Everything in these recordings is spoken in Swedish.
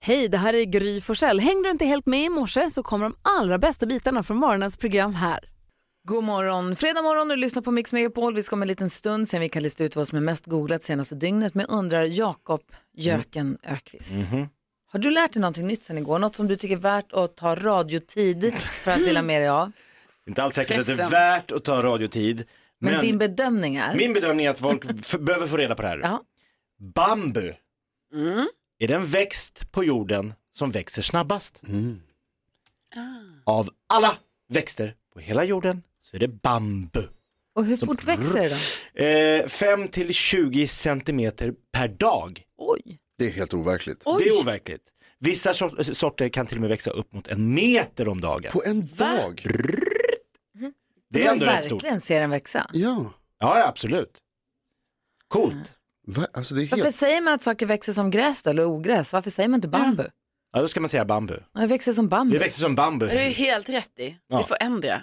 Hej, det här är Gry Forssell. Hängde du inte helt med i morse så kommer de allra bästa bitarna från morgonens program här. God morgon, fredag morgon och du lyssnar på Mix Megapol. Vi ska om en liten stund sen vi kan lista ut vad som är mest googlat senaste dygnet med undrar Jakob Jöken Ökvist. Mm. Mhm. Har du lärt dig någonting nytt sen igår? Något som du tycker är värt att ta radiotid för att dela med dig av? Inte alls säkert att det är Pressen. värt att ta radiotid. Men, Men, din bedömning är? min bedömning är att folk f- behöver få reda på det här. Ja. Mm. Bambu, är den växt på jorden som växer snabbast? Ah. Av alla växter på hela jorden så är det bambu. Och hur fort växer det då? Eh, 5 till 20 centimeter per dag. Oj, Det är helt overkligt. Det är overkligt. Vissa sor- sorter kan till och med växa upp mot en meter om dagen. På en dag? Det är man ändå rätt stort. verkligen ser den växa. Ja. Ja, ja, absolut. Ah. Coolt. Va? Alltså det är Varför helt... säger man att saker växer som gräs då, eller ogräs? Varför säger man inte bambu? Ja, då ska man säga bambu. Ja, Det växer som Det bambu. växer som bambu. Det är ju helt rätt i. Ja. Vi får ändra.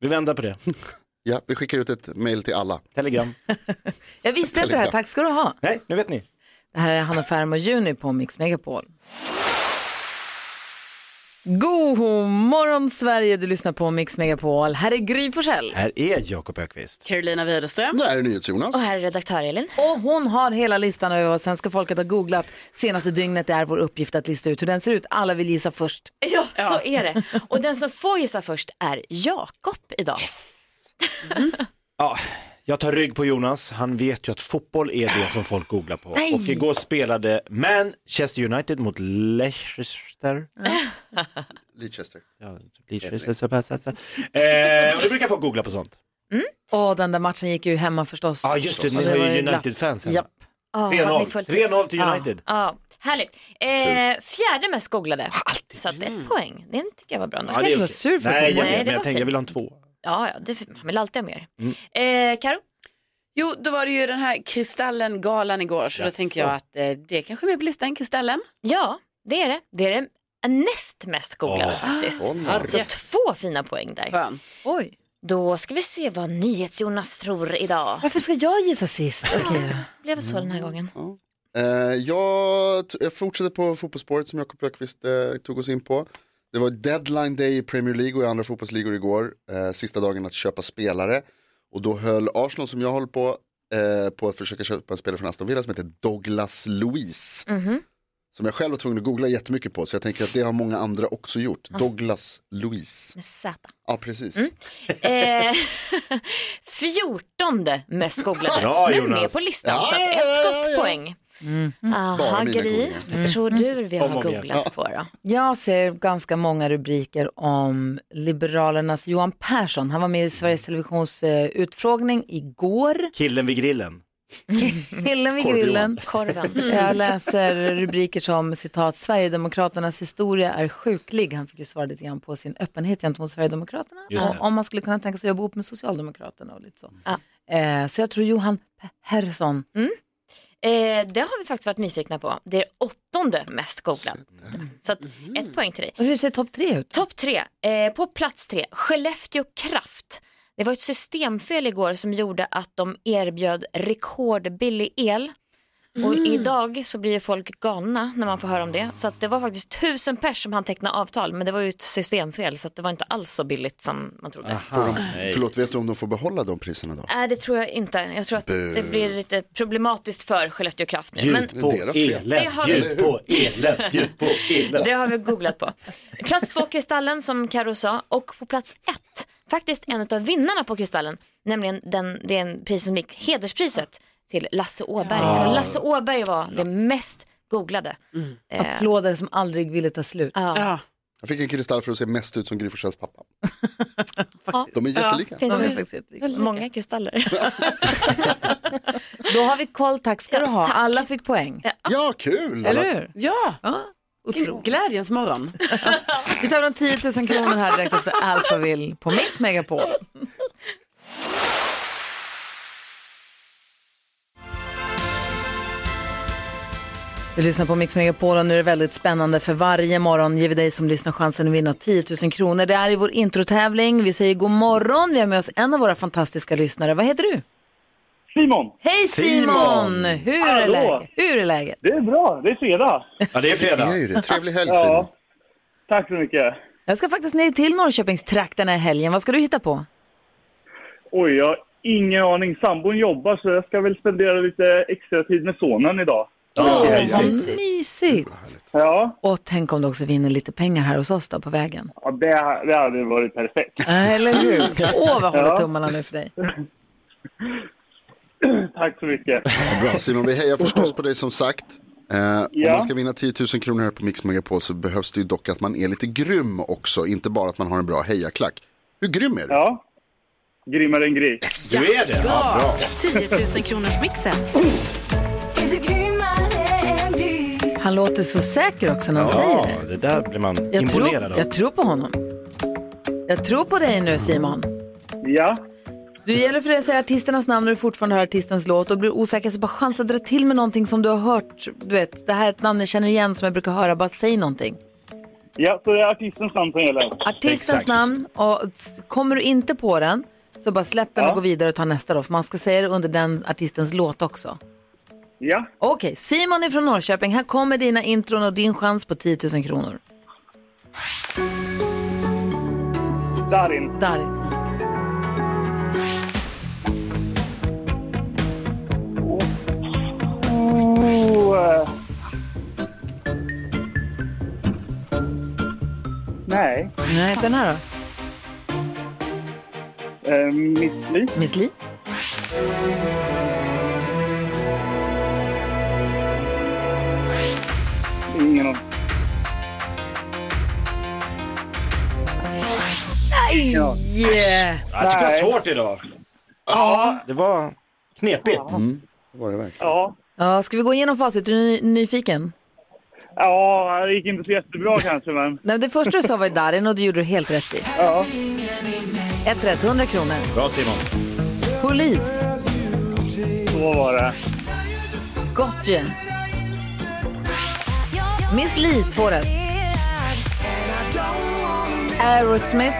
Vi vänder på det. Ja, vi skickar ut ett mejl till alla. Telegram. Jag visste inte det här, tack ska du ha. Nej, nu vet ni. Det här är Hanna Ferm och Juni på Mix Megapol. God morgon Sverige, du lyssnar på Mix Megapol. Här är Gry Forssell. Här är Jakob Ökvist. Carolina Widerström. Det här är NyhetsJonas. Och här är redaktör Elin. Och hon har hela listan över vad svenska folket har googlat senaste dygnet. Det är vår uppgift att lista ut hur den ser ut. Alla vill gissa först. Ja, så är det. Och den som får gissa först är Jakob idag. Ja, jag tar rygg på Jonas. Han vet ju att fotboll är det som folk googlar på. Och igår spelade Manchester United mot Leicester. Leicester. Ja, Leicester. så pass, alltså. Eh, och det brukar folk googla på sånt. Och den där matchen gick ju hemma förstås. Ja, just det. Och Ni var är ju glatt. United-fans. Japp. Ah, har 3-0. ni fullt hus? 3-0 till United. Ja, härligt. Eh, fjärde mest googlade. Så att det är poäng. Den tycker jag var bra. nog. Ja, inte det är vara okej. sur för Nej, fotboll. jag, Nej, vet, det men jag var tänkte fint. jag vill ha en två. Ja, ja, det, man vill alltid ha mer. Mm. Eh, Karo? Jo, då var det ju den här Kristallen-galan igår, så då Jaså. tänker jag att eh, det kanske är mer på listan, Kristallen. Ja, det är det. Det är det näst mest googlade Åh. faktiskt. Så Yes. två fina poäng där. Skön. Oj, Då ska vi se vad NyhetsJonas tror idag. varför ska jag gissa sist? Okej då. Blev så den här gången. Eh, jag, t- jag fortsätter på fotbollsspåret som Jakob Ökvist eh, tog oss in på. Det var deadline day i Premier League och i andra fotbollsligor igår. Eh, sista dagen att köpa spelare. Och då höll Arsenal som jag håller på eh, på att försöka köpa en spelare från Aston Villa som heter Douglas Luiz. Mm. Mm-hmm. Som jag själv var tvungen att googla jättemycket på så jag tänker att det har många andra också gjort. Douglas Luiz. Med Z. Ja precis. Eh, Fjortonde mest googlade. Bra, men Jonas. med på listan. Ja, så att ja, ett ja, gott ja. poäng. Mm. Aha, Bara mina Gry, googlingar. vad tror du vi Om har och om igen. googlat på då? Jag ser ganska många rubriker om Liberalernas Johan Persson. Han var med i Sveriges Televisions eh, utfrågning igår. Killen vid grillen. Killen vid Korv-Johan. grillen. Korven. Jag läser rubriker som citat Sverigedemokraternas historia är sjuklig. Han fick ju svara lite grann på sin öppenhet gentemot Sverigedemokraterna. Just det. Och om man skulle kunna tänka sig att jobba ihop med Socialdemokraterna och lite så. Ja. Eh, så jag tror Johan Persson. Eh, det har vi faktiskt varit nyfikna på. Det är åttonde mest googlat. Så att Mm. ett poäng till dig. Och hur ser topp tre ut? Topp tre, eh, på plats tre, Skellefteå Kraft. Det var ett systemfel igår som gjorde att de erbjöd rekordbillig el. Och idag så blir ju folk galna när man får höra om det. Så att det var faktiskt tusen pers som han teckna avtal men det var ju ett systemfel så att det var inte alls så billigt som man trodde. Får de, förlåt, vet du om de får behålla de priserna då? Nej det tror jag inte. Jag tror att det blir lite problematiskt för Skellefteå Kraft nu. Men Ljud på deras fel. elen, Det har vi- ljud på elen, ljud på elen. Det har vi googlat på. Plats två, Kristallen som Karo sa. Och på plats ett, faktiskt en av vinnarna på Kristallen, nämligen den, det är en pris som gick, hederspriset till Lasse Åberg. Så Lasse Åberg var det mest googlade. Mm. Eh, Applåder som aldrig ville ta slut. ja. Ja. Jag fick en kristall för att se mest ut som Gry Forssells pappa. de är Ja. jättelika. Finns De är det faktiskt jättelika. många kristaller? Då har vi koll, tack ska du ha. Alla fick poäng. Ja, kul! Eller hur? ja. Otroligt. Glädjens morgon. Vi tar de 10 000 kronor här direkt efter Alphaville på Mix Megapol. Du lyssnar på Mix Megapol och nu är det väldigt spännande för varje morgon ger vi dig som lyssnar chansen att vinna 10 000 kronor. Det är i vår introtävling. Vi säger god morgon. Vi har med oss en av våra fantastiska lyssnare. Vad heter du? Simon! Hej Simon! Simon! Hur, är Hallå! läget? Hur är läget? Det är bra, det är fredag. Ja, det är Det fredag. är ju det. Trevlig helg Ja. Simon. Tack så mycket. Jag ska faktiskt ner till Norrköpingstrakterna i helgen. Vad ska du hitta på? Oj, jag har ingen aning. Sambon jobbar så jag ska väl spendera lite extra tid med sonen idag. Ja, Vad mysigt. mysigt! Ja, Och tänk om du också vinner lite pengar här hos oss då på vägen. ja, det, det hade varit perfekt. Äh, Eller hur? Åh, vad håller Ja. tummarna nu för dig. Tack så mycket. Bra Simon, vi hejar förstås på dig som sagt. Eh, Om Mm. Ja. man ska vinna 10 000 kronor här på Mix Megapol så behövs det ju dock att man är lite grym också, inte bara att man har en bra hejaklack. Hur grym är du? Ja, grymmare än gris. Du är det. Ja, bra. 10 000 kronors mixen. Han låter så säker också när han säger det. Ja, det där blir man Jag tror, imponerad av. jag tror på honom. Jag tror på dig nu Simon. Ja, Du gäller för dig att säga artisternas namn när du fortfarande hör artistens låt och blir du osäker så bara chansa att dra till med någonting som du har hört. Du vet, det här är ett namn jag känner igen som jag brukar höra. Bara säg någonting. ja så det är artistens namn som gäller. Artistens Exakt. namn och s- kommer du inte på den så bara släpp den Ja. och gå vidare och ta nästa då. För man ska säga det under den artistens låt också. Ja, Okej, Simon är från Norrköping. Här kommer dina intron och din chans på 10 000 kronor. Darin. Där. Oh, eh. Nej, Nej, den här då? eh, mitt liv. Miss Li? Ingen aning. Yeah! Jag tycker det Nej. är svårt idag. Ja, det var knepigt. Mm. Var det verkligen? Ja. Ja, ska vi gå igenom facit? Är du ny- nyfiken? Ja, det gick inte så jättebra kanske, men Nej, det första du sa var ju Darin och det gjorde du helt rätt i. ja. Ett rätt, 100 kronor. Bra Simon. Polis, Så var det. Gottje. Miss Li, två rätt. Aerosmith.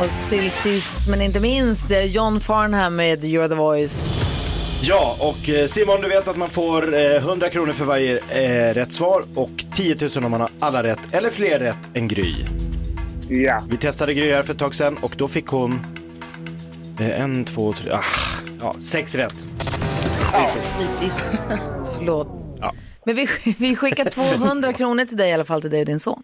Och till sist men inte minst, det är John Farnham med You're the voice. Ja, och eh, Simon, du vet att man får eh, 100 kronor för varje eh, rätt svar och 10 000 om man har alla rätt eller fler rätt än Gry. Ja. Vi testade Gry här för ett tag sedan och då fick hon eh, en, två, tre, ah, ja, sex rätt. Typiskt. Förlåt. Men vi, vi skickar 200 kronor till dig i alla fall, till dig och din son.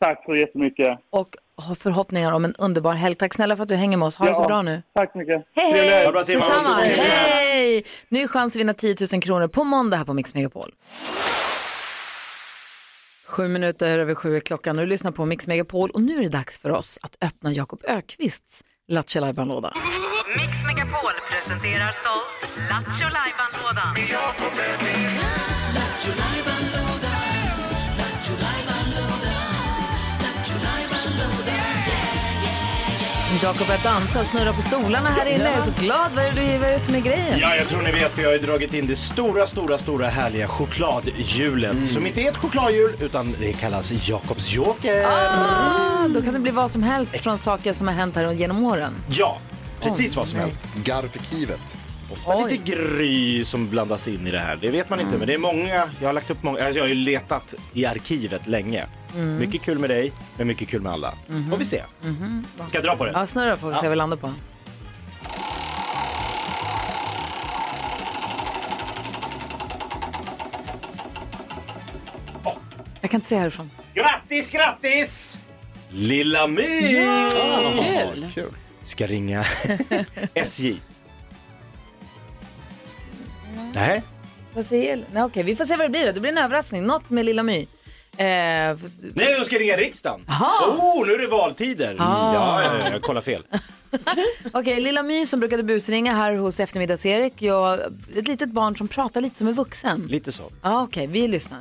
Tack så jättemycket. och har förhoppningar om en underbar helg. Tack snälla för att du hänger med oss. Ha det Ja. så bra nu. Tack så mycket. Hej, Trevlig hej! helg. det bra, Simon. Ha det så Detsamma. bra. Hej! Ny chans att vinna 10 000 kronor på måndag här på Mix Megapol. Sju minuter över sju är klockan och du lyssnar på Mix Megapol och nu är det dags för oss att öppna Jakob Ökvists Lattjo Lajban-låda. Mix Megapol presenterar stolt Lattjo Lajban-lådan. Jakob börjar dansa och snurra på stolarna här inne. Jag är så glad. Vad är det, vad är det som är grejen? Ja, jag tror ni vet för jag har ju dragit in det stora, stora, stora härliga chokladhjulet som inte är ett chokladhjul utan det kallas Jakobs joker. Ah, då kan det bli vad som helst från saker som har hänt här genom åren. Ja, precis vad som helst. Garvkivet. Ofta Oj. Mm. lite gry som blandas in i det här. Det vet man inte, men det är många. Jag har lagt upp många. Alltså jag har ju letat i arkivet länge. Mm. Mycket kul med dig, men mycket kul med alla. Får vi se. Ska jag dra på det? Mm-hmm. Ja, snurra får vi se vad vi landar på. Jag kan inte se härifrån. Grattis, grattis! Lilla My! Kul. Kul. Ska ringa SJ. Nej, Vad säger Elin? Nej, okej, vi får se vad det blir då. Det blir en överraskning. Något med Lilla My. Eh, f- nej jag ska ringa riksdagen. Oh, nu är det valtider. Ah. Ja, ja, ja, jag kollar fel. okej, Lilla My som brukade busringa här hos eftermiddags-Erik. Jag, ett litet barn som pratar lite som en vuxen. Lite så. Ja, okej, vi lyssnar.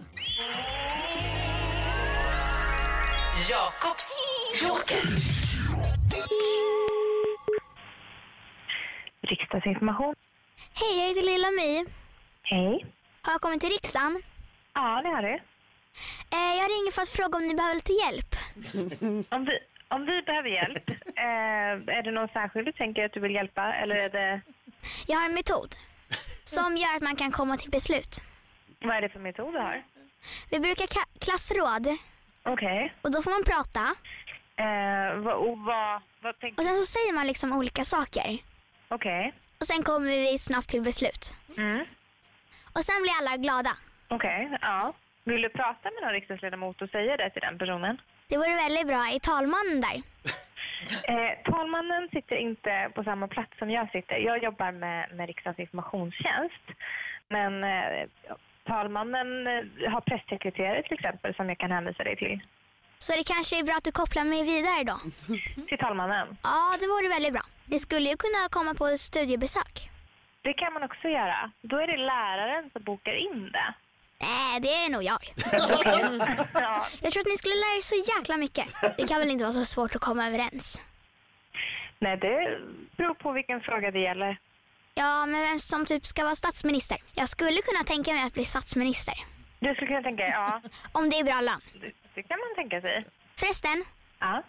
Jakobs joker. Riksdagsinformation. Hej, jag heter Lilla My. Hej. Har jag kommit till riksdagen? Ja, det har du. Eh, jag ringer för att fråga om ni behöver lite hjälp. Om vi, om vi behöver hjälp. Eh, är det någon särskild du tänker att du vill hjälpa? Eller är det... Jag har en metod som gör att man kan komma till beslut. Vad är det för metod du har? Vi brukar ka- klassråd. Okej. Och då får man prata. Eh, vad, och vad, vad tänker Och sen så säger man liksom olika saker. Okej. Och sen kommer vi snabbt till beslut. Mm. Och sen blir alla glada. Okej, ja. Vill du prata med någon riksdagsledamot och säga det till den personen? Det vore väldigt bra i talmannen där. Eh, talmannen sitter inte på samma plats som jag sitter. Jag jobbar med, med riksdagens informationstjänst. Men eh, talmannen eh, har pressekreterare till exempel som jag kan hänvisa dig till. Så det kanske är bra att du kopplar mig vidare då. Till talmannen. Ja, det vore väldigt bra. Ni skulle ju kunna komma på ett studiebesök. Det kan man också göra. Då är det läraren som bokar in det. Nej, det är nog jag. Ja. Jag tror att ni skulle lära er så jäkla mycket. Det kan väl inte vara så svårt att komma överens? Nej, det beror på vilken fråga det gäller. Ja, men vem som typ ska vara statsminister? Jag skulle kunna tänka mig att bli statsminister. Du skulle kunna tänka, ja, Om det är bra lön. det, det kan man tänka sig. Förresten, Ja.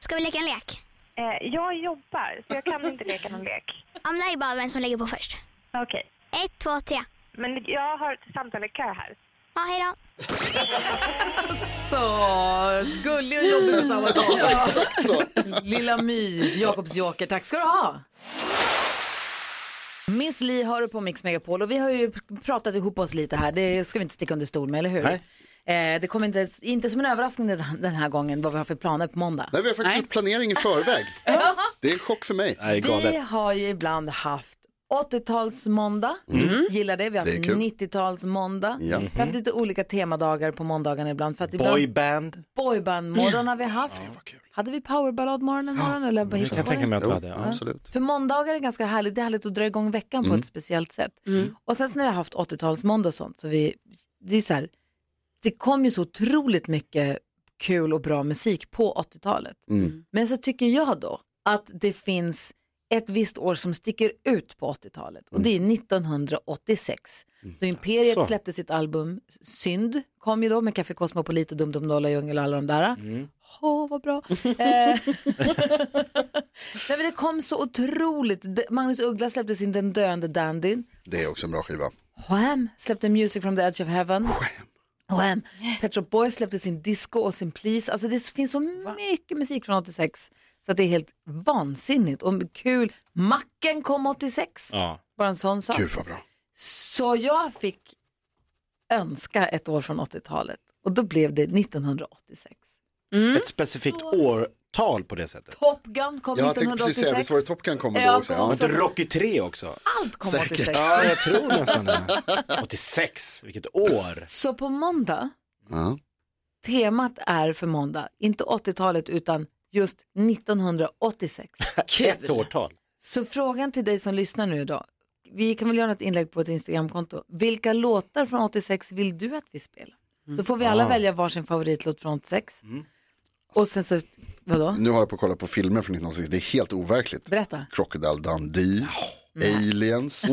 ska vi leka en lek? Eh, jag jobbar, så jag kan inte leka någon lek. Ja, men det här är bara vem som lägger på först. Okej. Ett, två, tre. Men jag har ett samtal i kö här. Ja, hej då. Så gullig och jobbig på samma gång. Exakt så. Lilla My, Jakobs joker. Tack ska du ha. Miss Li har du på Mix Megapol och vi har ju pratat ihop oss lite här. Det ska vi inte sticka under stol med, eller hur? Eh, det kommer inte, inte som en överraskning den den här gången vad vi har för planer på måndag. Nej, vi har faktiskt gjort planering i förväg. Det är en chock för mig. Nej, galet. Vi har ju ibland haft 80-talsmåndag, gillar det. Vi har Mm. Det är haft kul. 90-talsmåndag. Ja. Mm. Vi har haft lite olika temadagar på måndagarna ibland. För att ibland Boyband. Boybandmorgon har vi haft. Hade vi powerballadmorgon en morgon? Eller vad Jag kan hittade vi tänka på mig att Jo, du hade. Ja. absolut. För måndagar är ganska härligt, det är härligt att dra igång veckan på ett speciellt sätt. Och sen så när vi har haft 80-talsmåndag och sånt, så vi, det är så här, det kom ju så otroligt mycket kul och bra musik på 80-talet. Mm. Men så tycker jag då att det finns ett visst år som sticker ut på 80-talet och det är 1986. Då Imperiet Jaså. släppte sitt album Synd, kom ju då med Café Cosmopolit och Dum Dum Dolla Djungel och alla de där. Åh, vad bra. Eh, Nej, men det kom så otroligt. D- Magnus Uggla släppte sin Den döende dandyn. Det är också en bra skiva. Wham släppte Music from the edge of heaven. Wham. Pet Shop Boys släppte sin disco och sin please. Alltså det finns så mycket musik från 86 så att det är helt vansinnigt och kul. Macken kom 86. Ja. Bara en sån sak. Gud vad bra. Så jag fick önska ett år från 80-talet och då blev det 1986. Mm. Ett specifikt årtal på det sättet. Top Gun kom Jag tänkte 1986. precis säga, visst var det Top Gun kommer Ja, då också? kom Ja. också. Men Rocky 3 också. Allt kom Säkert. 86. Ja, jag tror nästan det. 86, vilket år. Så på måndag Ja. temat är för måndag, inte 80-talet utan just 1986. Ett årtal. Så frågan till dig som lyssnar nu då, vi kan väl göra ett inlägg på ett Instagramkonto. Vilka låtar från 86 vill du att vi spelar? Så får vi alla Mm. välja varsin favoritlåt från 86. Och sen så, vadå? Nu har jag på att kolla på filmer från 1986, det är helt overkligt. Berätta. Crocodile Dundee, Aliens,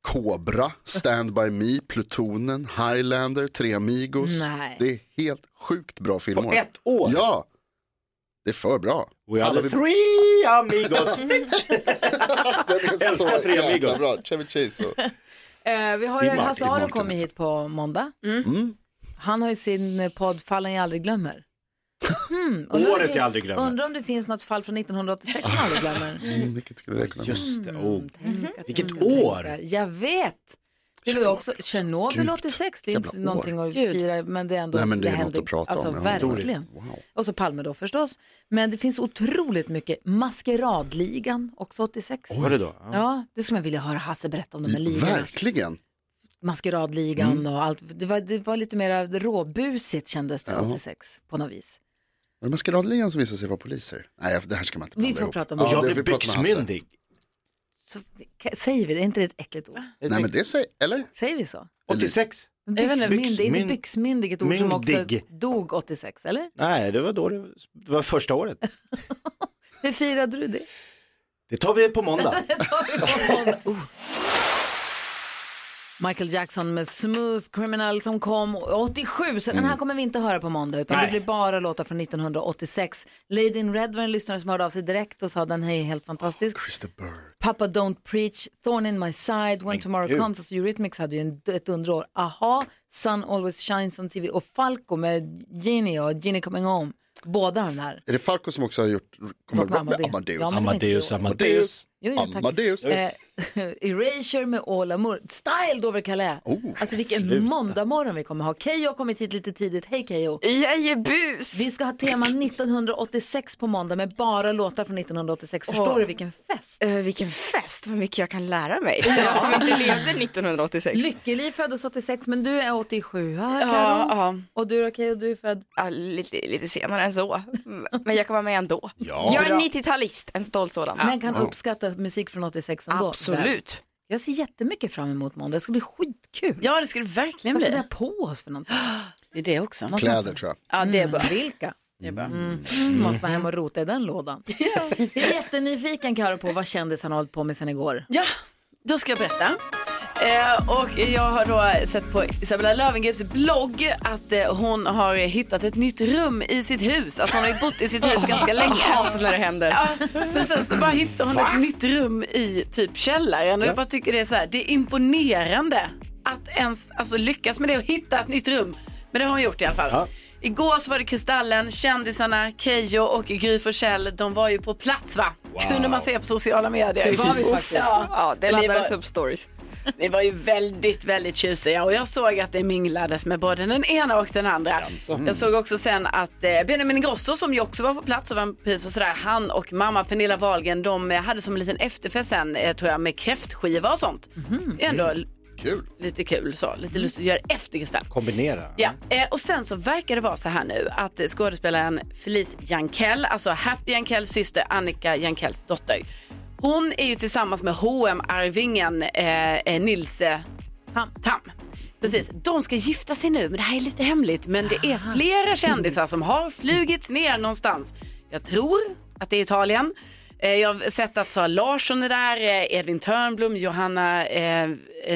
Cobra, Stand By Me, Plutonen, Highlander, Tre Amigos. Nej. Det är helt sjukt bra filmer. På ett år? Ja, det är för bra. We are Alla the vill- three amigos. Mm. Den är Älskar så Tre jäkla Amigos. bra. Chevy Chase och... Eh, vi har Steve ju Martin. Hasse Steve Aro Martin. kommer hit på måndag. Mm. Han har ju sin eh, podd Fallen jag aldrig glömmer. Hmm. undrar om det Året finns- jag aldrig glömmer. Undrar om det finns något fall från 1986 man aldrig glömmer. Mm, vilket skulle det kunna vara? Just det. Oh. Tänka, Vilket tänka, år? tänka. Jag vet. Det var ju också Tjernobyl Gud, 86, det är inte jävla år. någonting att fira, men det är ändå Nej men det är något händer. att prata alltså, om. ja. Verkligen. Wow. Och så Palme då förstås. Men det finns otroligt mycket. Maskeradligan, också 86. Var det då? Ja. Ja, det skulle man vilja höra Hasse berätta om de här ligorna. Verkligen. Mm. Maskeradligan och allt. Det var, det var lite mer råbusigt kändes det 86 på något vis. Var det Maskeradligan som visade sig vara poliser? Nej, det här ska man inte Vi blanda får ihop. prata om det. Och Ja, jag det blev får vi prata med Hasse. byxmyndig. Så, k- säger vi det? Är inte det ett äckligt ord? Nej men det säger, eller? Säger vi så? 86? Byxmyndig, är inte Byxmyn- byxmyndig ett ord som också myndig. dog 86, eller? Nej, det var då det, det var första året. Hur firade du det? Det tar vi på måndag. Oh. Michael Jackson med Smooth Criminal som kom 87. Så den här kommer vi inte höra på måndag utan Mm. Nej. det blir bara låtar från 1986. Lady in Red var en lyssnare som hörde av sig direkt och sa den här är helt fantastisk. Papa Don't Preach, Thorn in My Side, When Men Tomorrow gud. Comes, alltså Eurythmics hade ju en, ett underår. Aha, Sun Always Shines on TV och Falco med Genie och Genie Coming Home. Båda de här. Är det Falco som också har gjort kommer Klockan med Amadeus. Amadeus? Ja, men det tänkte jag. Jo, jo, tack. Amadeus. Eh, Erasure med All Amour. Styled over Calais. alltså vilken sluta. måndagmorgon vi kommer ha. Keyyo har kommit hit lite tidigt. Hej Keyyo. Jajebus. Vi ska ha tema 1986 på måndag med bara låtar från 1986. Förstår Åh. du vilken fest? Eh, vilken fest, vad mycket jag kan lära mig. Jag som inte levde 1986. Lyckeliv föddes 86 men du är 87. Ja, Ja, Karo. ja. Och du då Keyyo, du är född? Ja, lite, lite senare än så. Men jag kan vara med ändå. Ja. Jag är Bra. en 90-talist, en stolt sådan. Men kan uppskatta musik från 86 ändå. Absolut. Jag ser jättemycket fram emot måndag. Det ska bli skitkul. Ja, det ska det verkligen Vad ska bli. vi ha på oss för någonting? Det är det också. Kläder tror jag. Ja, det är bara. Vilka? Det är bara. Mm, måste vara hem och rota i den lådan. Jag är jättenyfiken Karo på vad kändisen har hållit på med sen igår. Ja, då ska jag berätta. Eh, och jag har då sett på Isabella Löwengrips blogg att eh, hon har hittat ett nytt rum i sitt hus. Alltså hon har ju bott i sitt hus ganska länge. Jag hatar när det händer. Ja, men sen så bara hittar hon ett nytt rum i typ källaren. Och jag bara tycker det är så här, det är imponerande att ens alltså, lyckas med det och hitta ett nytt rum. Men det har hon gjort i alla fall. Igår så var det Kristallen, kändisarna, Keyyo och Gry Forssell. De var ju på plats va? Kunde man se på sociala medier. Det var vi faktiskt. Ja, Ja, det Ni laddades var- upp stories. Ni var ju väldigt, väldigt tjusiga och jag såg att det minglades med både den ena och den andra. Jag såg också sen att eh, Benjamin Ingrosso som ju också var på plats och vann pris och sådär, han och mamma Pernilla Wahlgren de eh, hade som en liten efterfest sen eh, tror jag med kräftskiva och sånt. Mhm. Det är ändå Kul. lite kul så, lite lustigt att göra efter Kristallen. Kombinera. Ja, eh, och sen så verkar det vara så här nu att eh, skådespelaren Felice Jankell, alltså Happy Jankells syster Annika Jankells dotter, hon är ju tillsammans med hm arvingen eh, eh, Nils eh, Tam. Precis, de ska gifta sig nu men det här är lite hemligt men det är flera kändisar som har flugits ner någonstans. Jag tror att det är Italien. Eh, Jag har sett att Sara Larsson är där, eh, Edvin Törnblom, Johanna eh,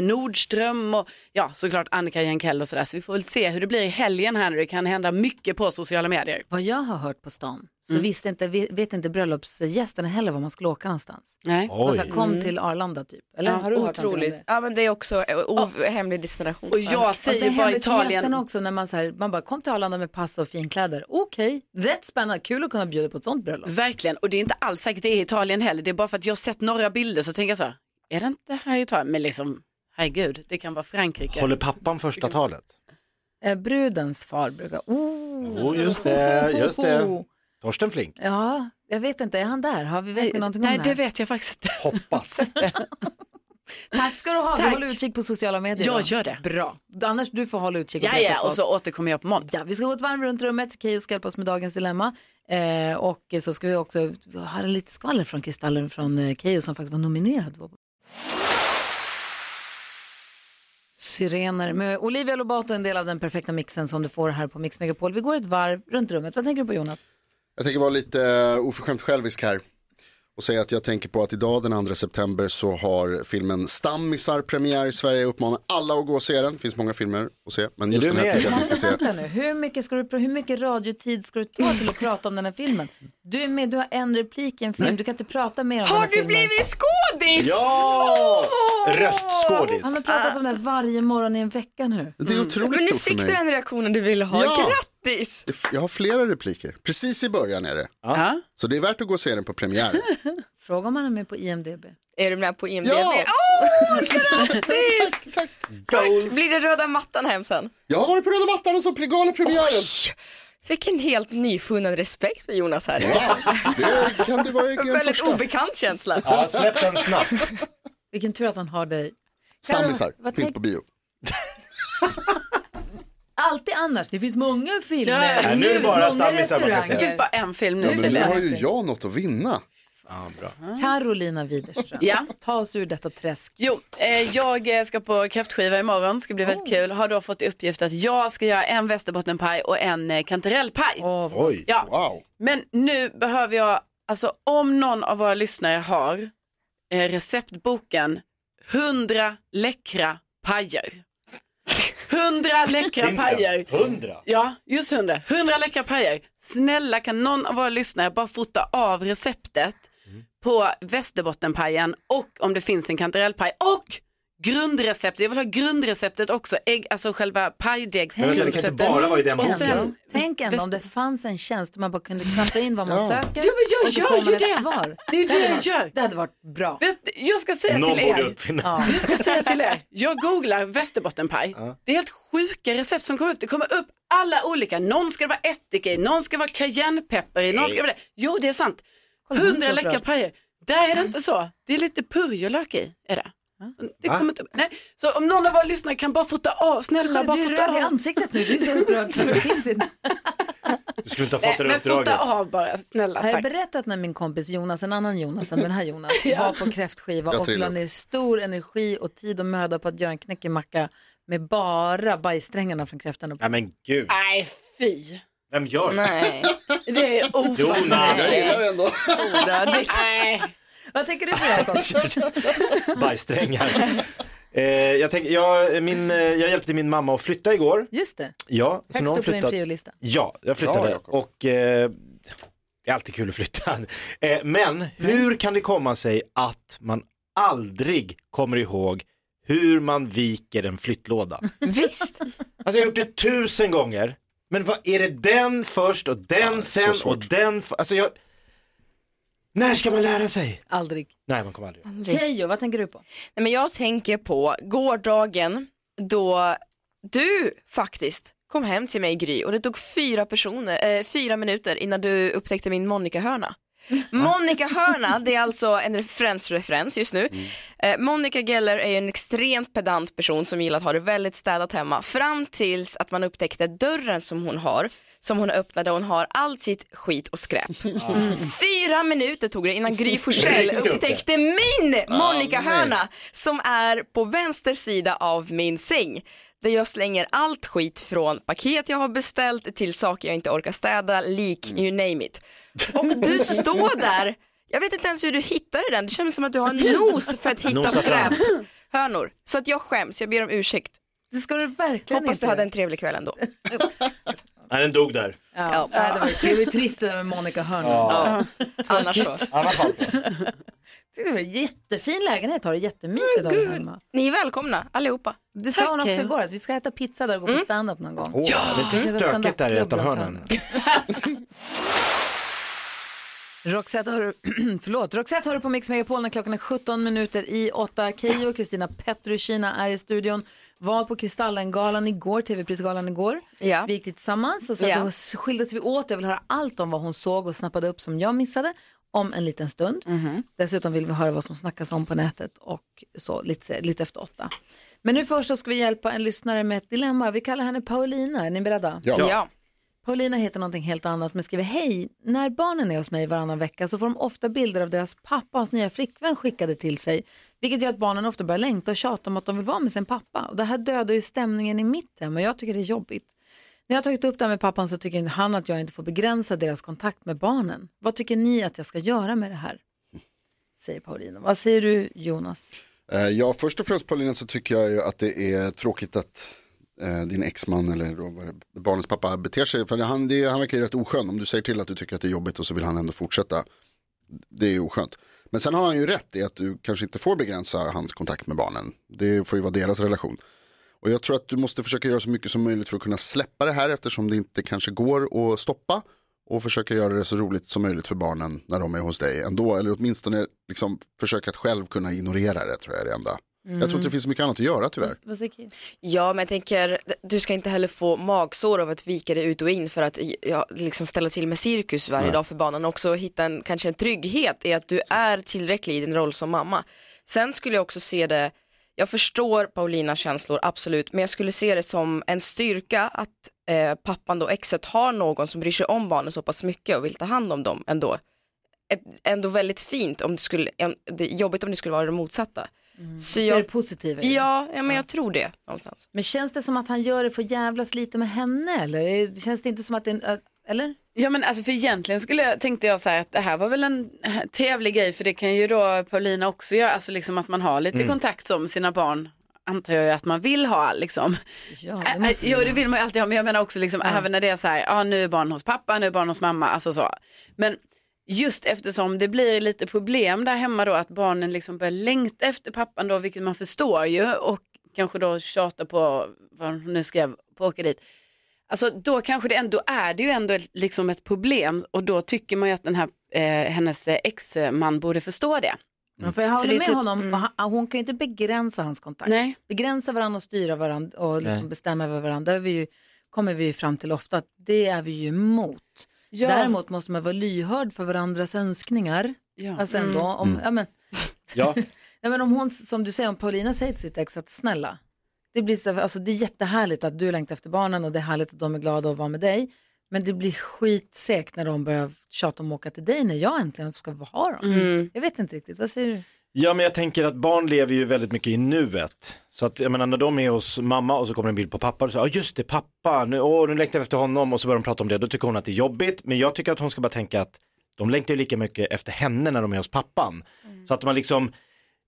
Nordström och ja, såklart Annika Jankell och sådär. Så vi får väl se hur det blir i helgen här nu. Det kan hända mycket på sociala medier. Vad jag har hört på stan så visste inte, vet, vet inte bröllopsgästerna heller var man skulle åka någonstans. Nej. Alltså, Oj. kom Mm. till Arlanda typ. Eller Ja, har du hört någonting om otroligt. det? Ja, men det är också eh, o- hemlig destination. Och jag säger det bara händer till Italien. gästerna också när man, så här, man bara kom till Arlanda med pass och finkläder. Okej, rätt spännande. Kul att kunna bjuda på ett sånt bröllop. Verkligen, och det är inte alls säkert det är Italien heller. Det är bara för att jag har sett några bilder så tänker jag så här, är det inte här i Italien? Men liksom, herregud, det kan vara Frankrike. Håller pappan första talet? Eh, brudens far brukar... Oh. Jo, just det, Eh, just det. Torsten Flink. Ja, jag vet inte. Är han där? Har vi, vet vi någonting nej, om det vet jag faktiskt inte. Hoppas. Tack ska du ha. Vi Tack. håller utkik på sociala medier. Jag då. gör det. Bra. Annars du får hålla utkik. och Ja, berätta ja, för och oss. så återkommer jag på måndag. Ja, vi ska gå ett varv runt rummet. Keyyo ska hjälpa oss med dagens dilemma. Eh, och så ska vi också ha lite skvaller från Kristallen från eh, Keyyo som faktiskt var nominerad. Syrener med Olivia Lobato, en del av den perfekta mixen som du får här på Mix Megapol. Vi går ett varv runt rummet. Vad tänker du på Jonas? Jag tänker vara lite eh, oförskämt självisk här och säga att jag tänker på att idag den 2 september så har filmen Stammisar premiär i Sverige. Jag uppmanar alla att gå och se den. Det finns många filmer att se, men just du den här med? tycker jag att vi ska se. Vänta nu, hur mycket, ska du, hur mycket radiotid ska du ta till att prata om den här filmen? Du är med, du har en replik i en film, du kan inte prata mer om den Har här du filmen. blivit skådis? Ja! Röstskådis. Han har pratat om det här varje morgon i en vecka nu. Det är Men otroligt nu stort för fick mig. du den reaktionen du ville ha. Ja. Grattis! Det f- Jag har flera repliker. Precis i början är det. Så det är värt att gå och se den på premiär. Fråga om han är med på IMDB. Är du med på IMDB? Ja! Åh, grattis! Blir det röda mattan hem sen? Jag har varit på röda mattan och så gala premiären. Oj! Fick en helt nyfunnen respekt för Jonas här. Det kan du verkligen Väldigt förstå. obekant känsla. Ja, släpp den snabbt. Vilken tur att han har dig. Stammisar, Vad finns tänk- på bio. Alltid annars, det finns många filmer. Ja, ja. Nej, nu är det finns bara många stammisar man ska restauranger. Det finns bara en film nu. Ja, men nu har ju jag något att vinna. Ja, bra. Carolina Widerström, Ja. ta oss ur detta träsk. Jo, eh, jag eh, ska på kräftskiva imorgon, ska bli väldigt Oh. kul. Har då fått i uppgift att jag ska göra en västerbottenpaj och en eh, kantarellpaj. Oj. Ja. Wow. Men nu behöver jag, alltså om någon av våra lyssnare har eh, receptboken 100 läckra pajer. Hundra läckra Finns det? pajer. Hundra? Ja, just hundra. Hundra läckra pajer. Snälla kan någon av våra lyssnare bara fota av receptet Mm. på Västerbottenpajen och om det finns en kantarellpaj och grundreceptet. Jag vill ha grundreceptet också. Ägg, alltså själva Men vänta, det kan inte pajdegsgrundreceptet. bara vara i den Och boken. sen Tänk ändå om det fanns en tjänst där man bara kunde knappa in vad man Ja. söker Ja, men jag och så gör får man ju ett det. svar. Det är ju det jag gör. Det hade varit bra. Vet, jag ska säga Någon till borde er. uppfinna. Jag ska säga till er. Jag googlar västerbottenpaj. Det är helt sjuka recept som kommer upp. Det kommer upp alla olika. Någon ska det vara ättika i, någon ska det vara cayennepeppar i, någon ska det vara det. Jo, det är sant. Hundra läckra pajer. Där är det inte så. Det är lite purjolök i. Är det. Det Va? kommer inte upp. Nej. Så om någon av våra lyssnare kan bara fota av, snälla bara Du är fota röd i av. ansiktet nu, du är så upprörd för att det finns inte. Du skulle inte ha Nej, fått det men uppdraget. fota av bara, snälla Har jag tack. berättat när min kompis Jonas, en annan Jonas än den här Jonas, Ja. var på kräftskiva Jag och la trillade. ner stor energi och tid och möda på att göra en knäckemacka med bara bajssträngarna från kräftan uppe. Nej men gud, Nej, fy. vem gör det? Det är ofattbart. Jonas. Jag gillar det ändå. Onödigt. Nej. Vad tänker du på Jakob? Bajssträngar. eh, jag, tänk, jag, min, eh, jag hjälpte min mamma att flytta igår. Just det. Ja, så Högst upp nu har hon på din flyttat. priolista. Ja, jag Bra, flyttade Jakob. och eh, det är alltid kul att flytta. Eh, men hur kan det komma sig att man aldrig kommer ihåg hur man viker en flyttlåda? Visst. Alltså jag har gjort det tusen gånger, men vad är det den först och den sen och den, f- alltså jag, när ska man lära sig? Aldrig. Nej man kommer aldrig. Keyyo, vad tänker du på? Nej, men jag tänker på gårdagen då du faktiskt kom hem till mig Gry och det tog fyra, personer, eh, fyra minuter innan du upptäckte min Monica-hörna. Monica-hörna, det är alltså en referensreferens just nu. Eh, Monica Geller är ju en extremt pedant person som gillar att ha det väldigt städat hemma fram tills att man upptäckte dörren som hon har som hon öppnade och hon har allt sitt skit och skräp. Mm. Fyra minuter tog det innan Gry Forssell Ringde upp det. upptäckte min Ah, Monica-hörna som är på vänster sida av min säng. Där jag slänger allt skit från paket jag har beställt till saker jag inte orkar städa, lik, you name it. Och du står där, jag vet inte ens hur du hittade den, det känns som att du har en nos för att hitta Nosa fram. skräphörnor. Så att jag skäms, jag ber om ursäkt. Det ska du verkligen Hoppas inte du hade en trevlig kväll ändå. Nej den dog där. Ja, nej, Det, var, det var ju trist det där med Monica Hörnlund. Ja. Annars så. Annars så. Det var en jättefin lägenhet har du, jättemysigt har du hemma. Ni är välkomna allihopa. Du sa hon Tack. också igår att vi ska äta pizza där och gå på stand-up någon gång. Åh, det är Vi inte Ah, ska stökigt där i ett av stand-up-klubb hörnen. Roxette har, du- förlåt, Roxette har du på Mix Megapol när klockan är 17 minuter i 8. Keyyo och Kristina Petrushina är i studion. Var på Kristallengalan igår, TV-prisgalan igår. Ja. Vi gick dit tillsammans och sen Ja. så skildes vi åt. Jag vill höra allt om vad hon såg och snappade upp som jag missade om en liten stund. Mm-hmm. Dessutom vill vi höra vad som snackas om på nätet och så lite, lite efter åtta. Men nu först så ska vi hjälpa en lyssnare med ett dilemma. Vi kallar henne Paulina. Är ni beredda? Ja. Ja. Paulina heter någonting helt annat men skriver hej. När barnen är hos mig varannan vecka så får de ofta bilder av deras pappa och hans nya flickvän skickade till sig. Vilket gör att barnen ofta börjar längta och tjata om att de vill vara med sin pappa. Och det här dödar ju stämningen i mitt hem och jag tycker det är jobbigt. När jag har tagit upp det här med pappan så tycker han att jag inte får begränsa deras kontakt med barnen. Vad tycker ni att jag ska göra med det här? Säger Paulina. Vad säger du Jonas? Eh, Ja, först och främst Paulina så tycker jag ju att det är tråkigt att eh, din exman eller då, vad det- barnens pappa beter sig. För han, det, han verkar ju rätt oskön. Om du säger till att du tycker att det är jobbigt och så vill han ändå fortsätta. Det är ju oskönt. Men sen har han ju rätt i att du kanske inte får begränsa hans kontakt med barnen. Det får ju vara deras relation. Och jag tror att du måste försöka göra så mycket som möjligt för att kunna släppa det här eftersom det inte kanske går att stoppa. Och försöka göra det så roligt som möjligt för barnen när de är hos dig ändå. Eller åtminstone liksom försöka att själv kunna ignorera det tror jag är det enda. Jag tror inte det finns så mycket annat att göra tyvärr. Vad säger Kim? Ja, men jag tänker, du ska inte heller få magsår av att vika dig ut och in för att ja, liksom ställa till med cirkus varje Nej. dag för barnen. Också hitta en, kanske en trygghet i att du är tillräcklig i din roll som mamma. Sen skulle jag också se det, jag förstår Paulinas känslor, absolut, men jag skulle se det som en styrka att eh, pappan då, exet, har någon som bryr sig om barnen så pass mycket och vill ta hand om dem ändå. Ett, ändå väldigt fint, om det skulle, en, det är jobbigt om det skulle vara det motsatta. Så Ser det positiva i det? Ja, ja, men jag tror det någonstans. Men känns det som att han gör det för att jävlas lite med henne eller Är- känns det inte som att det är en, ö- eller? Ja men alltså för egentligen skulle jag, tänkte jag så här att det här var väl en trevlig grej för det kan ju då Paulina också göra, alltså liksom att man har lite Mm. kontakt som sina barn antar jag ju att man vill ha liksom. Ja, det, äh, jo, det vill man ju alltid ha, men jag menar också liksom, även när det är så här, ja nu är barn hos pappa, nu är barn hos mamma, alltså så. Men just eftersom det blir lite problem där hemma då, att barnen liksom börjar längta efter pappan då, vilket man förstår ju, och kanske då tjata på vad hon nu skrev, på att åka dit. Alltså då kanske det ändå är det ju ändå liksom ett problem och då tycker man ju att den här, eh, hennes eh, ex-man borde förstå det. Ja, för jag Så håller det är med typ- honom. och Han, hon kan ju inte begränsa hans kontakt. Nej. Begränsa varandra och styra varandra och liksom Nej. bestämma över varandra. Det är vi ju, kommer vi ju fram till ofta att det är vi ju emot. Ja. Däremot måste man vara lyhörd för varandras önskningar. Ja. Alltså ändå, Mm. om, ja, men, Ja, nej, men om hon, som du säger, om Paulina säger till sitt ex att snälla, det, blir så, alltså, det är jättehärligt att du längtar efter barnen och det är härligt att de är glada att vara med dig. Men det blir skitsegt när de börjar tjata om att åka till dig när jag äntligen ska ha dem. Mm. Jag vet inte riktigt, vad säger du? Ja, men jag tänker att barn lever ju väldigt mycket i nuet. Så att, jag menar, när de är hos mamma och så kommer en bild på pappa och så, ja "Ah, just det, pappa, nu, åh, nu längtar jag efter honom och så börjar de prata om det, då tycker hon att det är jobbigt. Men jag tycker att hon ska bara tänka att de längtar ju lika mycket efter henne när de är hos pappan. Så att man liksom,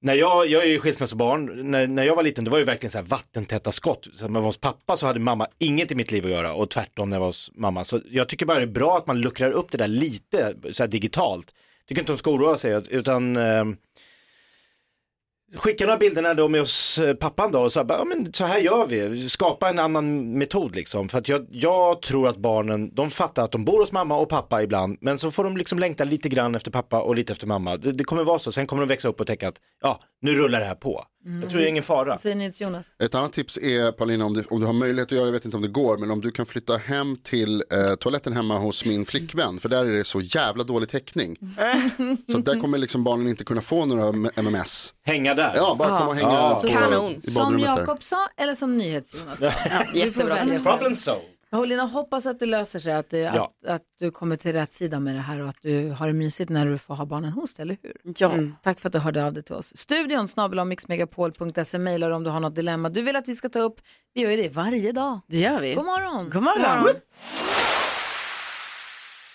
när jag, jag är ju skilsmässobarn, när, när jag var liten, det var ju verkligen så här vattentäta skott. Så när man var hos pappa så hade mamma inget i mitt liv att göra och tvärtom när jag var hos mamma. Så jag tycker bara det är bra att man luckrar upp det där lite, så här digitalt. Tycker inte hon ska oroa sig, utan ehm, skicka några bilder när de är hos eh, pappan då och så här, bara, ja, men så här gör vi, skapa en annan metod liksom. För att jag, jag tror att barnen, de fattar att de bor hos mamma och pappa ibland, men så får de liksom längta lite grann efter pappa och lite efter mamma. Det, det kommer vara så, sen kommer de växa upp och tänka att ja, nu rullar det här på. Mm. Jag tror det är ingen fara. Vad säger ni till Jonas? Ett annat tips är, Paulina, om du, om du har möjlighet att göra, jag vet inte om det går, men om du kan flytta hem till eh, toaletten hemma hos min flickvän, för där är det så jävla dålig täckning. Så att där kommer liksom barnen inte kunna få några m- MMS. Hänga där? Ja, bara komma och hänga på, i Som badrummet där. Jakob sa eller som NyhetsJonas? jättebra tips. Problem solved. Paulina, hoppas att det löser sig, att, det, Ja. att, att du kommer till rätt sida med det här och att du har det mysigt när du får ha barnen hos dig, eller hur? Mm. Ja. tack för att du hörde av dig till oss. Studion snabel mixmegapol.se mejlar du om du har något dilemma du vill att vi ska ta upp. Vi gör ju det varje dag. Det gör vi. Mm. God morgon! God morgon.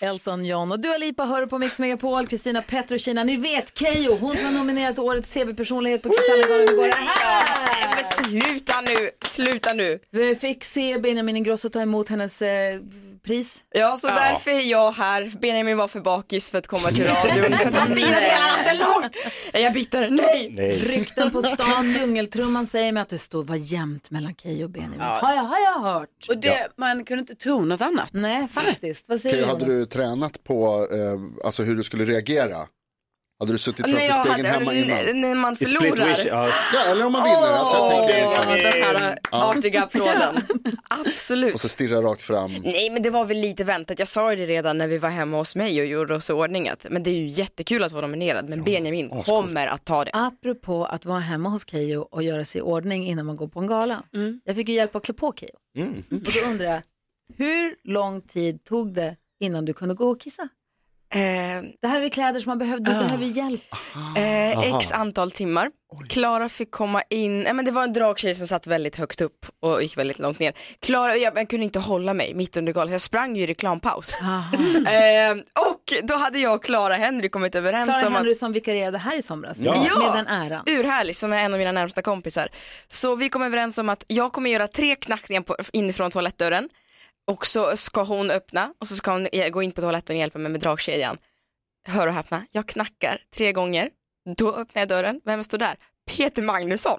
Elton John och Dua Lipa hör på Mix Megapol, Kristina Petrokina, ni vet Keyyo, hon som var nominerad till årets TV-personlighet på Kristallengalan igår. Men sluta nu, sluta nu. Vi fick se Benjamin Ingrosso ta emot hennes eh, pris. Ja, så därför är jag här. Benjamin var för bakis för att komma till radion. För att han firade hela natten lång. Är jag bitter? Nej. Rykten på stan, djungeltrumman säger mig att det stod var jämnt mellan Keyyo och Benjamin. Har, jag, har jag hört? Och det, Man kunde inte tro något annat. Nej, faktiskt. Vad Okej, säger hade Jonas? du tränat på eh, alltså hur du skulle reagera? Hade du suttit framför Nej, jag spegeln hade- hemma innan? n- när man I split förlorar. wish, ja. ja, eller om man vinner. alltså, jag tänker Åh, liksom. den här Ja. artiga applåden. Absolut. Och så stirra rakt fram. Nej men det var väl lite väntat, jag sa ju det redan när vi var hemma hos mig och gjorde oss i ordning att, men det är ju jättekul att vara nominerad men Benjamin kommer att ta det. Apropå att vara hemma hos Keyyo och göra sig i ordning innan man går på en gala. Jag fick ju hjälp att klä på Keyyo. Och då undrar jag, hur lång tid tog det innan du kunde gå och kissa? Det här är kläder som man behöver, du behöver hjälp. Eh, Aha. x antal timmar. Klara fick komma in, nej men det var en dragtjej som satt väldigt högt upp och gick väldigt långt ner. Klara, jag, jag kunde inte hålla mig mitt under galan, jag sprang ju i reklampaus. eh, och då hade jag och Klara Henry kommit överens Clara om att Henry som vikarierade här i somras, Ja. med Ja. den äran. Urhärlig som är en av mina närmsta kompisar. Så vi kom överens om att jag kommer göra tre knackningar på, inifrån toalettdörren och så ska hon öppna och så ska hon eh, gå in på toaletten och hjälpa mig med dragkedjan. Hör och häpna, jag knackar tre gånger. Då öppnar jag dörren, vem står där? Peter Magnusson.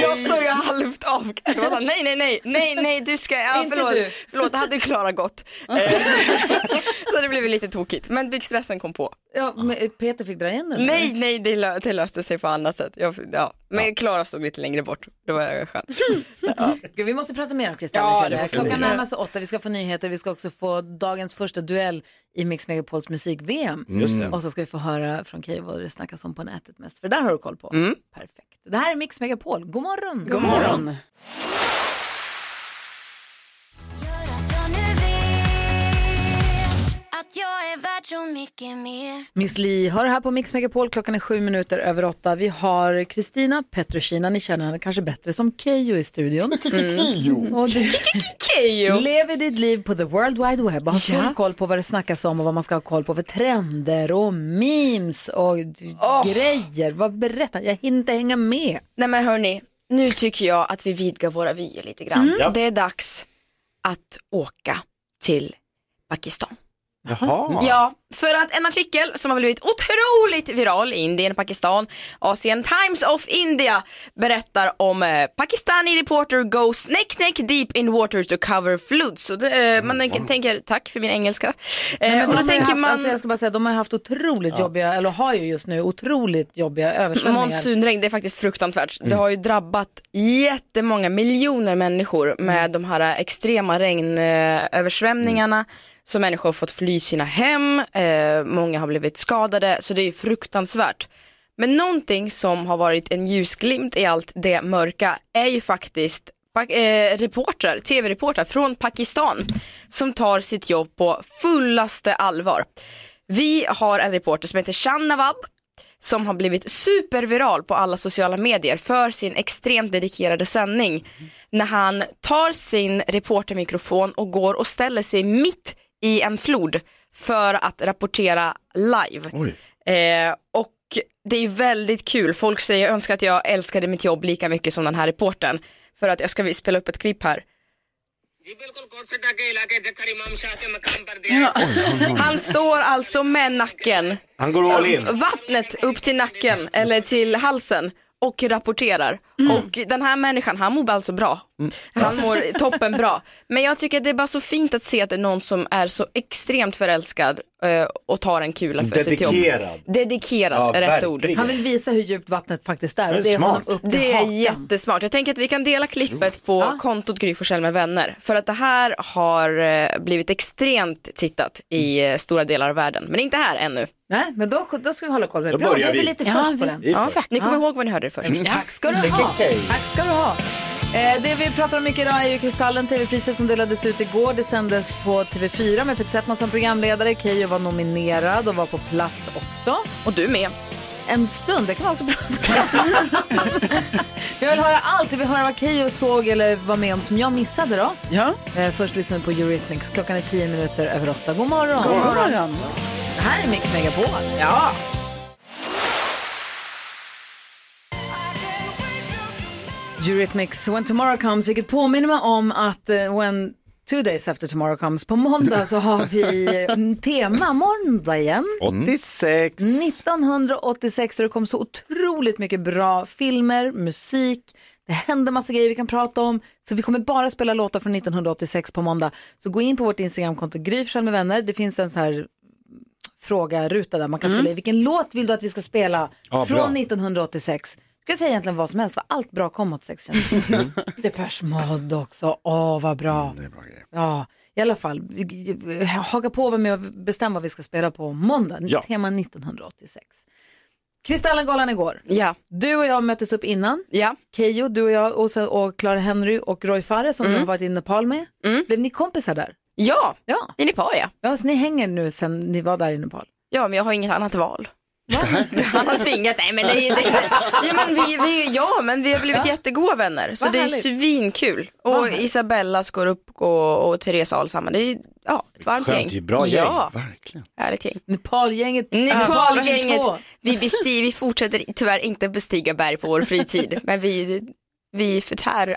jag står ju halvt av. Jag var så här, nej, nej, nej, nej, nej, du ska, ja, Inte förlåt, du. förlåt, det hade ju Klara gått. Eh, så det blev ju lite tokigt, men byggstressen kom på. Ja, men Peter fick dra igen den. Nej, nej, det, lö det löste sig på annat sätt. Jag, ja. Men Klara stod lite längre bort, det var skönt. Gud, vi måste prata mer om Ja, Kristallen det ja, måste vi Klockan göra. närmar sig åtta, vi ska få nyheter, vi ska också få dagens första duell i Mix Megapols musik-VM. Mm. Just det. Och så ska vi få höra från Keyyo vad det snackas om på nätet mest, för det där har du koll på. Mm. Perfekt. Det här är Mix Megapol, god morgon! God morgon. Att jag är så mycket mer. Miss Li hör här på Mix Megapol, klockan är sju minuter över åtta. Vi har Kristina Petrushina, ni känner henne kanske bättre som Keyyo i studion. Keyyo. Och du Keyyo. lever ditt liv på the world wide web och har full koll på vad det snackas om och vad man ska ha koll på för trender och memes och grejer. Vad Berätta, jag hinner inte hänga med. Nej men hörni, nu tycker jag att vi vidgar våra vyer lite grann. Mm. Ja. Det är dags att åka till Pakistan. Jaha. Ja, för att en artikel som har blivit otroligt viral i Indien, Pakistan, Asien, Times of India berättar om eh, Pakistani reporter goes neck neck deep in water to cover floods. Så det, eh, man tänker, tänker, tack för min engelska. Eh, Men och de då har ju tänker haft, man, alltså jag ska bara säga, de har haft otroligt Ja. jobbiga, eller har ju just nu otroligt jobbiga översvämningar. Monsunregn, det är faktiskt fruktansvärt. Det Mm. har ju drabbat jättemånga miljoner människor Mm. med de här eh, extrema regnöversvämningarna. Mm. Så människor har fått fly sina hem, eh, många har blivit skadade, så det är ju fruktansvärt. Men någonting som har varit en ljusglimt i allt det mörka är ju faktiskt pak- eh, reportrar, tv-reportrar från Pakistan som tar sitt jobb på fullaste allvar. Vi har en reporter som heter Shan Nawab som har blivit superviral på alla sociala medier för sin extremt dedikerade sändning. När han tar sin reportermikrofon och går och ställer sig mitt i en flod för att rapportera live. Eh, och det är väldigt kul, folk säger jag önskar att jag älskade mitt jobb lika mycket som den här reportern. För att jag ska vi- spela upp ett klipp här. Han står alltså med nacken Han går all in. vattnet upp till nacken eller till halsen och rapporterar. Mm. Och den här människan, han mår alltså bra. Han mår toppen bra. Men jag tycker att det är bara så fint att se att det är någon som är så extremt förälskad eh, och tar en kula för sitt jobb. Dedikerad. Dedikerad Ja, är rätt verkligen. ord. Han vill visa hur djupt vattnet faktiskt är. Och Men det är smart. honom upp till Det är hakan. jättesmart. Jag tänker att vi kan dela klippet på kontot Gry Forssell med vänner. För att det här har eh, blivit extremt tittat i eh, stora delar av världen. Men inte här ännu. Nej, men då, då ska vi hålla koll på det. Då Bra, börjar det är väl vi. lite Ja, först vi- på den. vi får- Exakt. Ni kommer Ja. ihåg vad ni hörde det först. Mm. Tack ska du ha. Tack ska du ha. Eh, det vi pratar om mycket idag är ju Kristallen, tv-priset som delades ut igår. Det sändes på TV4 med Peter Settman som programledare. Keyyo var nominerad och var på plats också. Och du med. En stund, det kan man också prata om. Vi vill höra allt. Vi vill höra vad Keyyo såg eller var med om som jag missade då. Ja. Eh, först lyssnar vi på Eurythmics. Klockan är tio minuter över åtta. God morgon. God morgon. Det här är Mix Megapol. Ja. Eurythmics When Tomorrow Comes, vilket påminner mig om att eh, When Two Days After Tomorrow Comes, på måndag så har vi en tema måndag igen. 86. 1986 och det kom så otroligt mycket bra filmer, musik, det hände massa grejer vi kan prata om. Så vi kommer bara spela låtar från 1986 på måndag. Så gå in på vårt Instagramkonto Gry Forssell med vänner. Det finns en så här fråga-ruta där man kan Mm. fylla i vilken låt vill du att vi ska spela Ja, från bra. 1986. Du kan säga egentligen vad som helst, för allt bra kom 86 känns det som. Depeche Mode också, åh vad bra. Ja, i alla fall, vi- vi- haka på var med och bestäm vad vi ska spela på måndag, Ja. tema 1986. Kristallengalan igår. Ja. Du och jag möttes upp innan. Ja. Keyyo, du och jag och, sen, och Clara Henry och Roy Fares som Mm. du har varit i Nepal med. Blev ni kompisar där? Ja, ja. i Nepal ja. Ja, så ni hänger nu sen ni var där i Nepal? Ja, men jag har inget annat val. Han har tvingat, nej men det är det, ja, men vi, vi, ja men vi har blivit jättegoda vänner så Vad det är härligt. svinkul. Vad Och härligt. Isabella skår upp och, och Therese Alshammar, det är ja, ett varmt Skönt, gäng. det är bra gäng. Ja, härligt gäng. Nepalgänget. Alltså, Nepalgänget, Nepal vi, besti, vi fortsätter tyvärr inte bestiga berg på vår fritid men vi, vi förtär.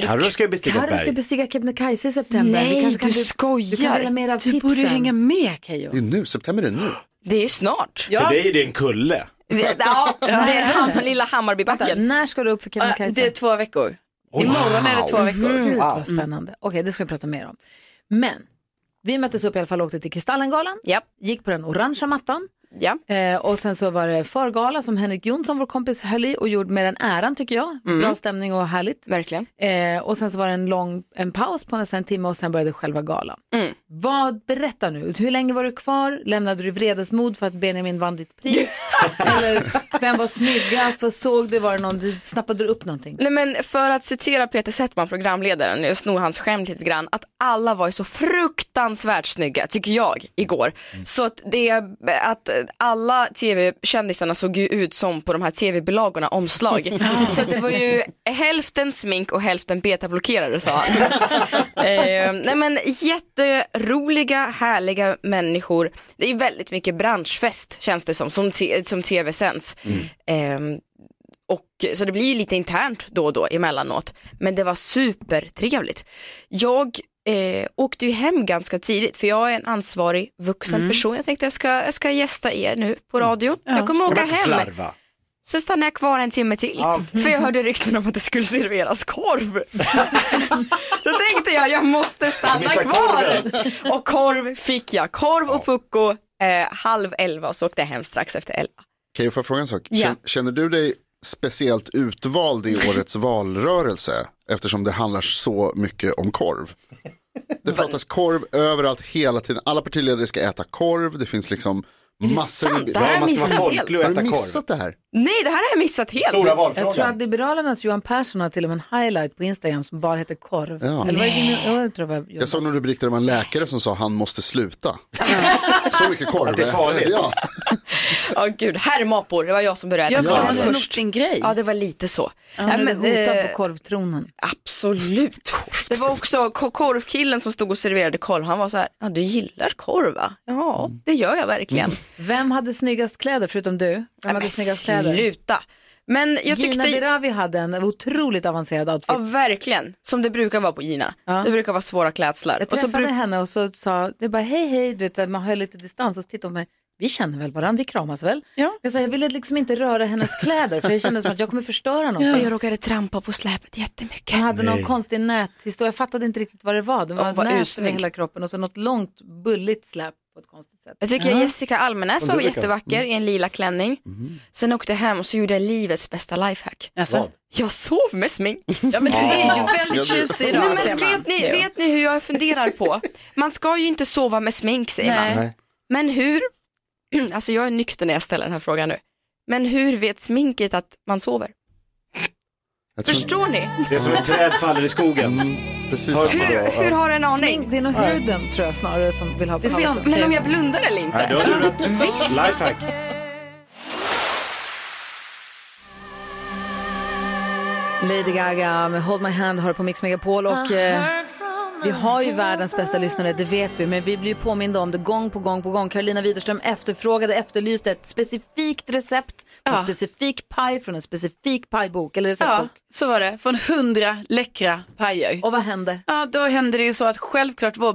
Carro ska ju bestiga ett Carro ska berg. bestiga Kebnekaise i september. Nej, Vi kanske du bli- Du kan skojar. dela med dig av Du tipsen. borde hänga med Keyyo. Det är nu, september är nu. Det är ju snart. För dig är det en kulle. Det- Ja, det är ham, lilla Vänta, Hammarbybacken. När ska du upp för Kebnekaise? Det är två veckor. Imorgon är det två veckor. Mhm, Mm. Wow. Vad spännande. Okej, det ska vi prata mer om. Men vi möttes upp i alla fall och åkte till Kristallengalan. Yep. Gick på den orangea mattan. Eh, och sen så var det förgala som Henrik Jonsson, vår kompis, höll i och gjorde med den äran tycker jag. Mm. Bra stämning och härligt. Verkligen. Eh, och sen så var det en lång en paus på nästan en timme och sen började själva galan. Mm. Vad, berätta nu, hur länge var du kvar? Lämnade du vredesmod för att Benjamin vann ditt pris? Eller vem var snyggast? Vad såg du? Var det någon, du snappade du upp någonting? Nej men för att citera Peter Settman, programledaren, jag snor hans skämt lite grann, att alla var ju så fruktansvärt snygga, tycker jag, igår. Så att, det, att alla tv-kändisarna såg ju ut som på de här tv-bilagorna omslag. så det var ju hälften smink och hälften betablockerare sa han. eh, nej men jätteroliga, härliga människor. Det är ju väldigt mycket branschfest känns det som, som, te- som tv-sänds. Ehm, och, så det blir ju lite internt då och då emellanåt. Men det var supertrevligt. Jag eh, åkte ju hem ganska tidigt för jag är en ansvarig vuxen Mm. person. Jag tänkte jag ska, jag ska gästa er nu på radio. jag kommer åka hem. Sen stannade jag kvar en timme till. För jag hörde rykten om att det skulle serveras korv. så tänkte jag, jag måste stanna Missa kvar. korven. Och korv fick jag. Korv och pucko eh, halv elva och så åkte jag hem strax efter elva. Kan jag få fråga en sak? Ja. Känner, känner du dig speciellt utvald i årets valrörelse? Eftersom det handlar så mycket om korv. Det pratas korv överallt hela tiden. Alla partiledare ska äta korv. Det finns liksom det massor sant? Det här har jag missat helt. Har Äta du korv. missat det här? Nej, det här har jag missat helt. Jag tror att Liberalernas Johan Persson har till och med en highlight på Instagram som bara heter korv. Ja. Eller vad är det nu? Jag tror det var- Jag såg någon rubrik där det var en läkare som sa han måste sluta. så mycket korv. Att det är farligt. Ja. Ja gud, herrmapor, det var jag som började Jag äta bara korv snott först. Ja eh, det var lite så. Känner du dig hotad på korvtronen? Absolut. Det var också ko- korvkillen som stod och serverade korv, han var så här, ja du gillar korv va? Ja, det gör jag verkligen. Vem hade snyggast kläder förutom du? Vem Ja, hade Mm. men snyggast kläder? sluta. Men jag Gina tyckte- Biravi hade en otroligt avancerad outfit. Ja verkligen, som det brukar vara på Gina. Det brukar vara svåra klädslar. Jag Och så träffade henne och så sa, det bara hej hej, du vet, så här, man höll lite distans och så tittade hon på mig, vi känner väl varandra, vi kramas väl? Ja. Jag sa, jag ville liksom inte röra hennes kläder för jag kände som att jag kommer förstöra något. Ja, jag råkade trampa på släpet jättemycket. Hon hade någon Nej. konstig näthistoria, jag fattade inte riktigt vad det var. Det var, Hon var nät över ursnygg. hela kroppen och så något långt bulligt släp på ett konstigt sätt. Jag tycker Ja. Jessica Almenäs Som var du brukar. jättevacker Mm. i en lila klänning. Sen åkte jag hem och så gjorde jag livets bästa lifehack. Jag sov med smink. Ja men du är ju Alltså, Ja. väldigt tjusig idag, Nej, ser men man. vet, ni, vet ni hur jag funderar på? Man ska ju inte sova med smink säger Nej. man. Nej. Men hur, alltså jag är nykter när jag ställer den här frågan nu. Men hur vet sminket att man sover? Jag tror- Förstår ni? Det är som ett träd faller i skogen. precis Hör- Hur, hur har en aning? Smink, det är nog huden tror jag snarare som vill ha på Men- halsen. Men om jag blundar eller inte? Nej, då har du rätt. Visst. Lifehack. Typ Lady Gaga med Hold My Hand har på Mix Megapol och eh, vi har ju världens bästa lyssnare, det vet vi, men vi blir ju påminda om det gång på gång på gång. Carolina Widerström efterfrågade, efterlyste ett specifikt recept på en specifik paj från en specifik pajbok eller Ja, receptbok. så var det. Från hundra läckra pajer. Och vad händer? Ja, då händer det ju så att självklart vår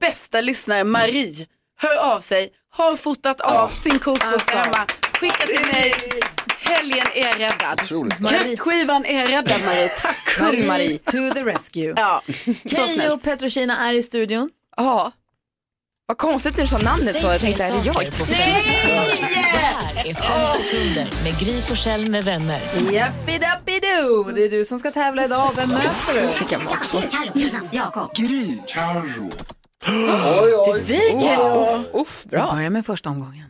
bästa lyssnare Marie hör av sig, har fotat av sin kokbok Alltså. hemma, skickat till mig. Helgen är räddad. Alltså, Kräftskivan är räddad Marie. Tack Marie, to the rescue. Ja, så snällt. och Petrosina är i studion. Ja. Vad konstigt när du sa namnet så, jag tänkte är det jag? Det här är fem sekunder med Gry Forssell med vänner. Jappidappido! Det är du som ska tävla idag. Vem möter du? Fick jag också. Jakob. Gry. Carro. Oj, oj. Det viker. Wow. Uff, uff, bra. Vi börjar med första omgången.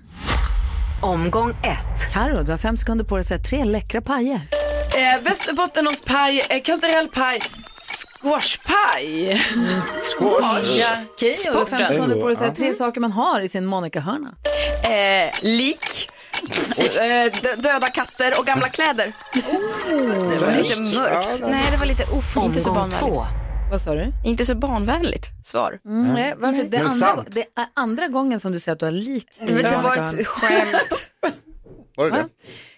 Omgång ett. Karo, du har fem sekunder på dig att säga tre läckra pajer. Eh, Västerbottenostpaj, eh, kantarellpaj, squashpaj. Squash. Ja. Okej, och du har fem Sporten. sekunder på dig att säga tre Mm. saker man har i sin Monica-hörna. Eh, lik, eh, dö- döda katter och gamla kläder. det var lite Oh. Fräscht. mörkt. Ja, Nej, det var lite uff, inte så Omgång barnvänligt. två. Vad sa du? Inte så barnvänligt svar. Mm, nej, varför? Det, är Men andra, sant. det är andra gången som du säger att du har lik i Det var- det var ett Monica-hörnan. skämt. Var det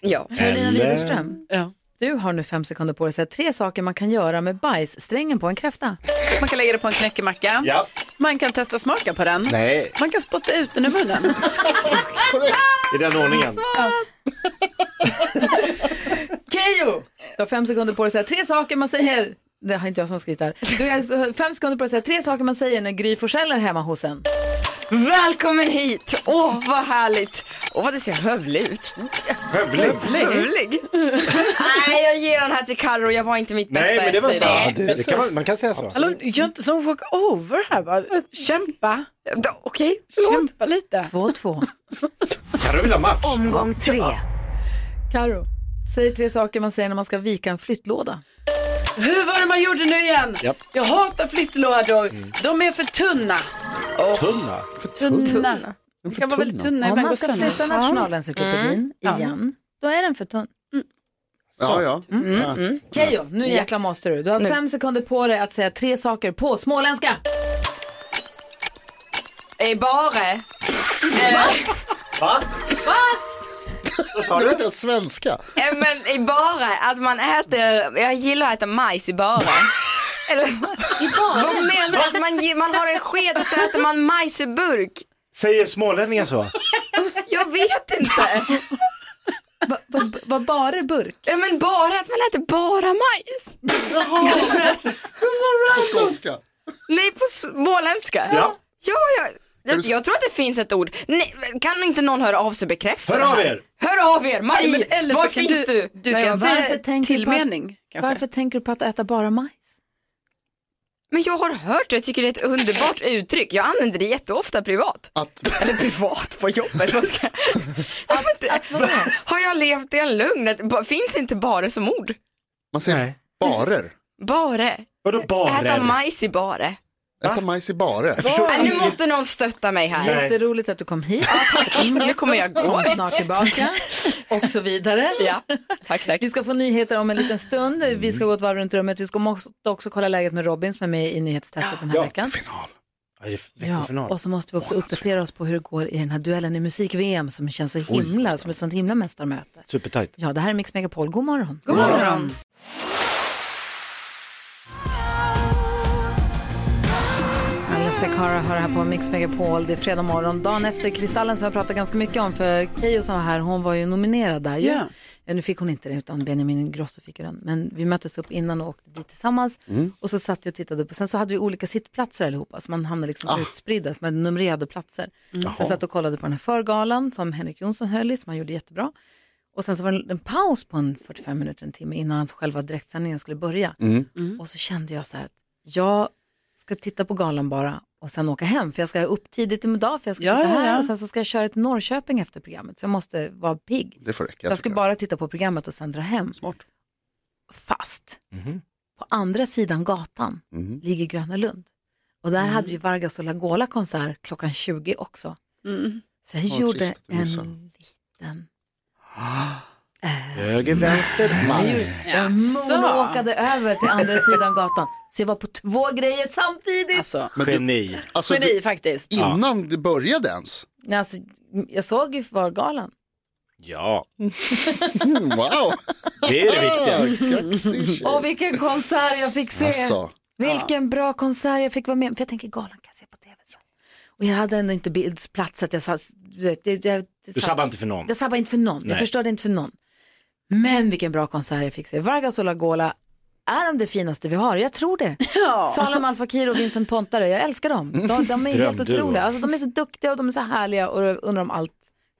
Ja. Carolina Widerström, du har nu fem sekunder på dig att säga tre saker man kan göra med bajssträngen på en kräfta. Man kan lägga det på en knäckemacka. Ja. Man kan testa smaka på den. Nej. Man kan spotta ut den ur munnen. I den ordningen. Kejo, du har fem sekunder på dig att säga tre saker man säger. Det har inte jag som skrivit där. Du har alltså fem sekunder på dig att säga tre saker man säger när Gry Forssell är hemma hos en. Välkommen hit! Åh, vad härligt! Åh, vad du ser hövlig ut. Hövlig? Hövlig? Nej, jag ger den här till Carro. Jag var inte mitt bästa Nej, men det var essay. så. Ja, det, det kan man, man kan säga så. Hallå, gör inte sån walk-over här bara. Kämpa. Okej, förlåt. Kämpa lite. 2-2. Carro vill ha match. Omgång tre. Karo, säg tre saker man säger när man ska vika en flyttlåda. Hur var det man gjorde nu igen? Japp. Jag hatar flyttlådor. De är för tunna. Och Tunna? För tunna. De kan vara väldigt tunna Om ibland. man går ska sönder. Mm. flytta Nationalencyklopedin Ja. igen, då är den för tunn. Ja, ja. Mm, Ja. mm. Keyyo, nu jäklar måste du. Du har Nu. fem sekunder på dig att säga tre saker på småländska. Är bara. eh, Va? Va? Du vet inte ens svenska. Eh, Men i bara, att man äter, jag gillar att äta majs i bara. Eller, I bara? Vad menar du? Att man, ge- man har en sked och så äter man majs i burk? Säger smålänningar så? Jag vet inte. Vad bara burk? Ja men bara att man äter bara majs. På skånska. Nej på småländska. Ja. Ja, ja. Jag, jag tror att det finns ett ord. Nej, men kan inte någon höra av sig och bekräfta Hör det av här? er. Hör av er, Nej, men Marie! eller var så kan finns du- du? du kan jag- säga varför tänker du på att- tillmening, kanske? Varför tänker du på att äta bara majs? Men jag har hört det, jag tycker det är ett underbart uttryck. Jag använder det jätteofta privat. Att... Eller privat på jobbet. Vad ska... att, har jag levt i en lugn? Att, ba- finns inte bara som ord? Man säger barer. Bare. Vadå barer? Äta majs i bare. Äta majs i barer. Nej, nu måste någon stötta mig här. Jätteroligt att du kom hit. Nu kommer jag gå. Kom snart tillbaka och så vidare. Ja. Tack, tack. Vi ska få nyheter om en liten stund. Vi ska gå ett varv runt rummet. Vi ska måste också kolla läget med Robin som är med i nyhetstestet den här Ja. veckan. Ja, det är Ja, veckofinal. och så måste vi också uppdatera oss på hur det går i den här duellen i musik-VM som känns så himla, som ett sånt himla mästarmöte. Supertajt. Ja, det här är Mix Megapol. God morgon. God morgon. Alla Sekara har det här på Mix Megapol. Det är fredag morgon. Dagen efter Kristallen som jag pratat ganska mycket om. För Keyyo som var här, hon var ju nominerad där ju. Ja. Ja, Nu fick hon inte det utan Benjamin Ingrosso fick ju den. Men vi möttes upp innan och åkte dit tillsammans. Mm. Och så satt jag och tittade på. Sen så hade vi olika sittplatser allihopa. Så man hamnade liksom Ah. utspridda med numrerade platser. Mm. Så jag satt och kollade på den här förgalan som Henrik Jonsson höll i, som han gjorde jättebra. Och sen så var det en- en paus på en 45 minuter, en timme innan själva direktsändningen skulle börja. Mm. Och så kände jag så här att jag ska titta på galan bara och sen åka hem. För jag ska upp tidigt idag för jag ska Ja, sitta ja, här ja. och sen så ska jag köra till Norrköping efter programmet. Så jag måste vara pigg. Det får Så räcka. jag skulle bara titta på programmet och sen dra hem. Fast Mhm. på andra sidan gatan Mhm. ligger Gröna Lund. Och där hade ju Vargas och Lagola konsert klockan 20 också. Så jag Vad gjorde trist att du en missade. liten... Höger, vänster, man. Jag moonwalkade över till andra sidan gatan. Så jag var på två grejer samtidigt. Alltså, Men du- Geni. Alltså, Geni, du- faktiskt. Innan det började ens. alltså, jag såg ju Förgalan. Ja. Mm, Wow. Det är det viktiga. Och vilken konsert jag fick se. Alltså. Vilken bra konsert jag fick vara med För jag tänker galan kan jag se på tv. sen. Och jag hade ändå inte bild- plats att jag satt. du vet, jag- jag- Du sabbar inte för någon. Jag sabbar inte för någon. Jag Nej. förstörde inte för någon. Men vilken bra konsert jag fick se. Vargas och Lagola är de det finaste vi har. Jag tror det. Salem Al Fakir och Vincent Pontare. Jag älskar dem. De, de är helt Drömduo. otroliga. Alltså, de är så duktiga och de är så härliga och jag undrar om allt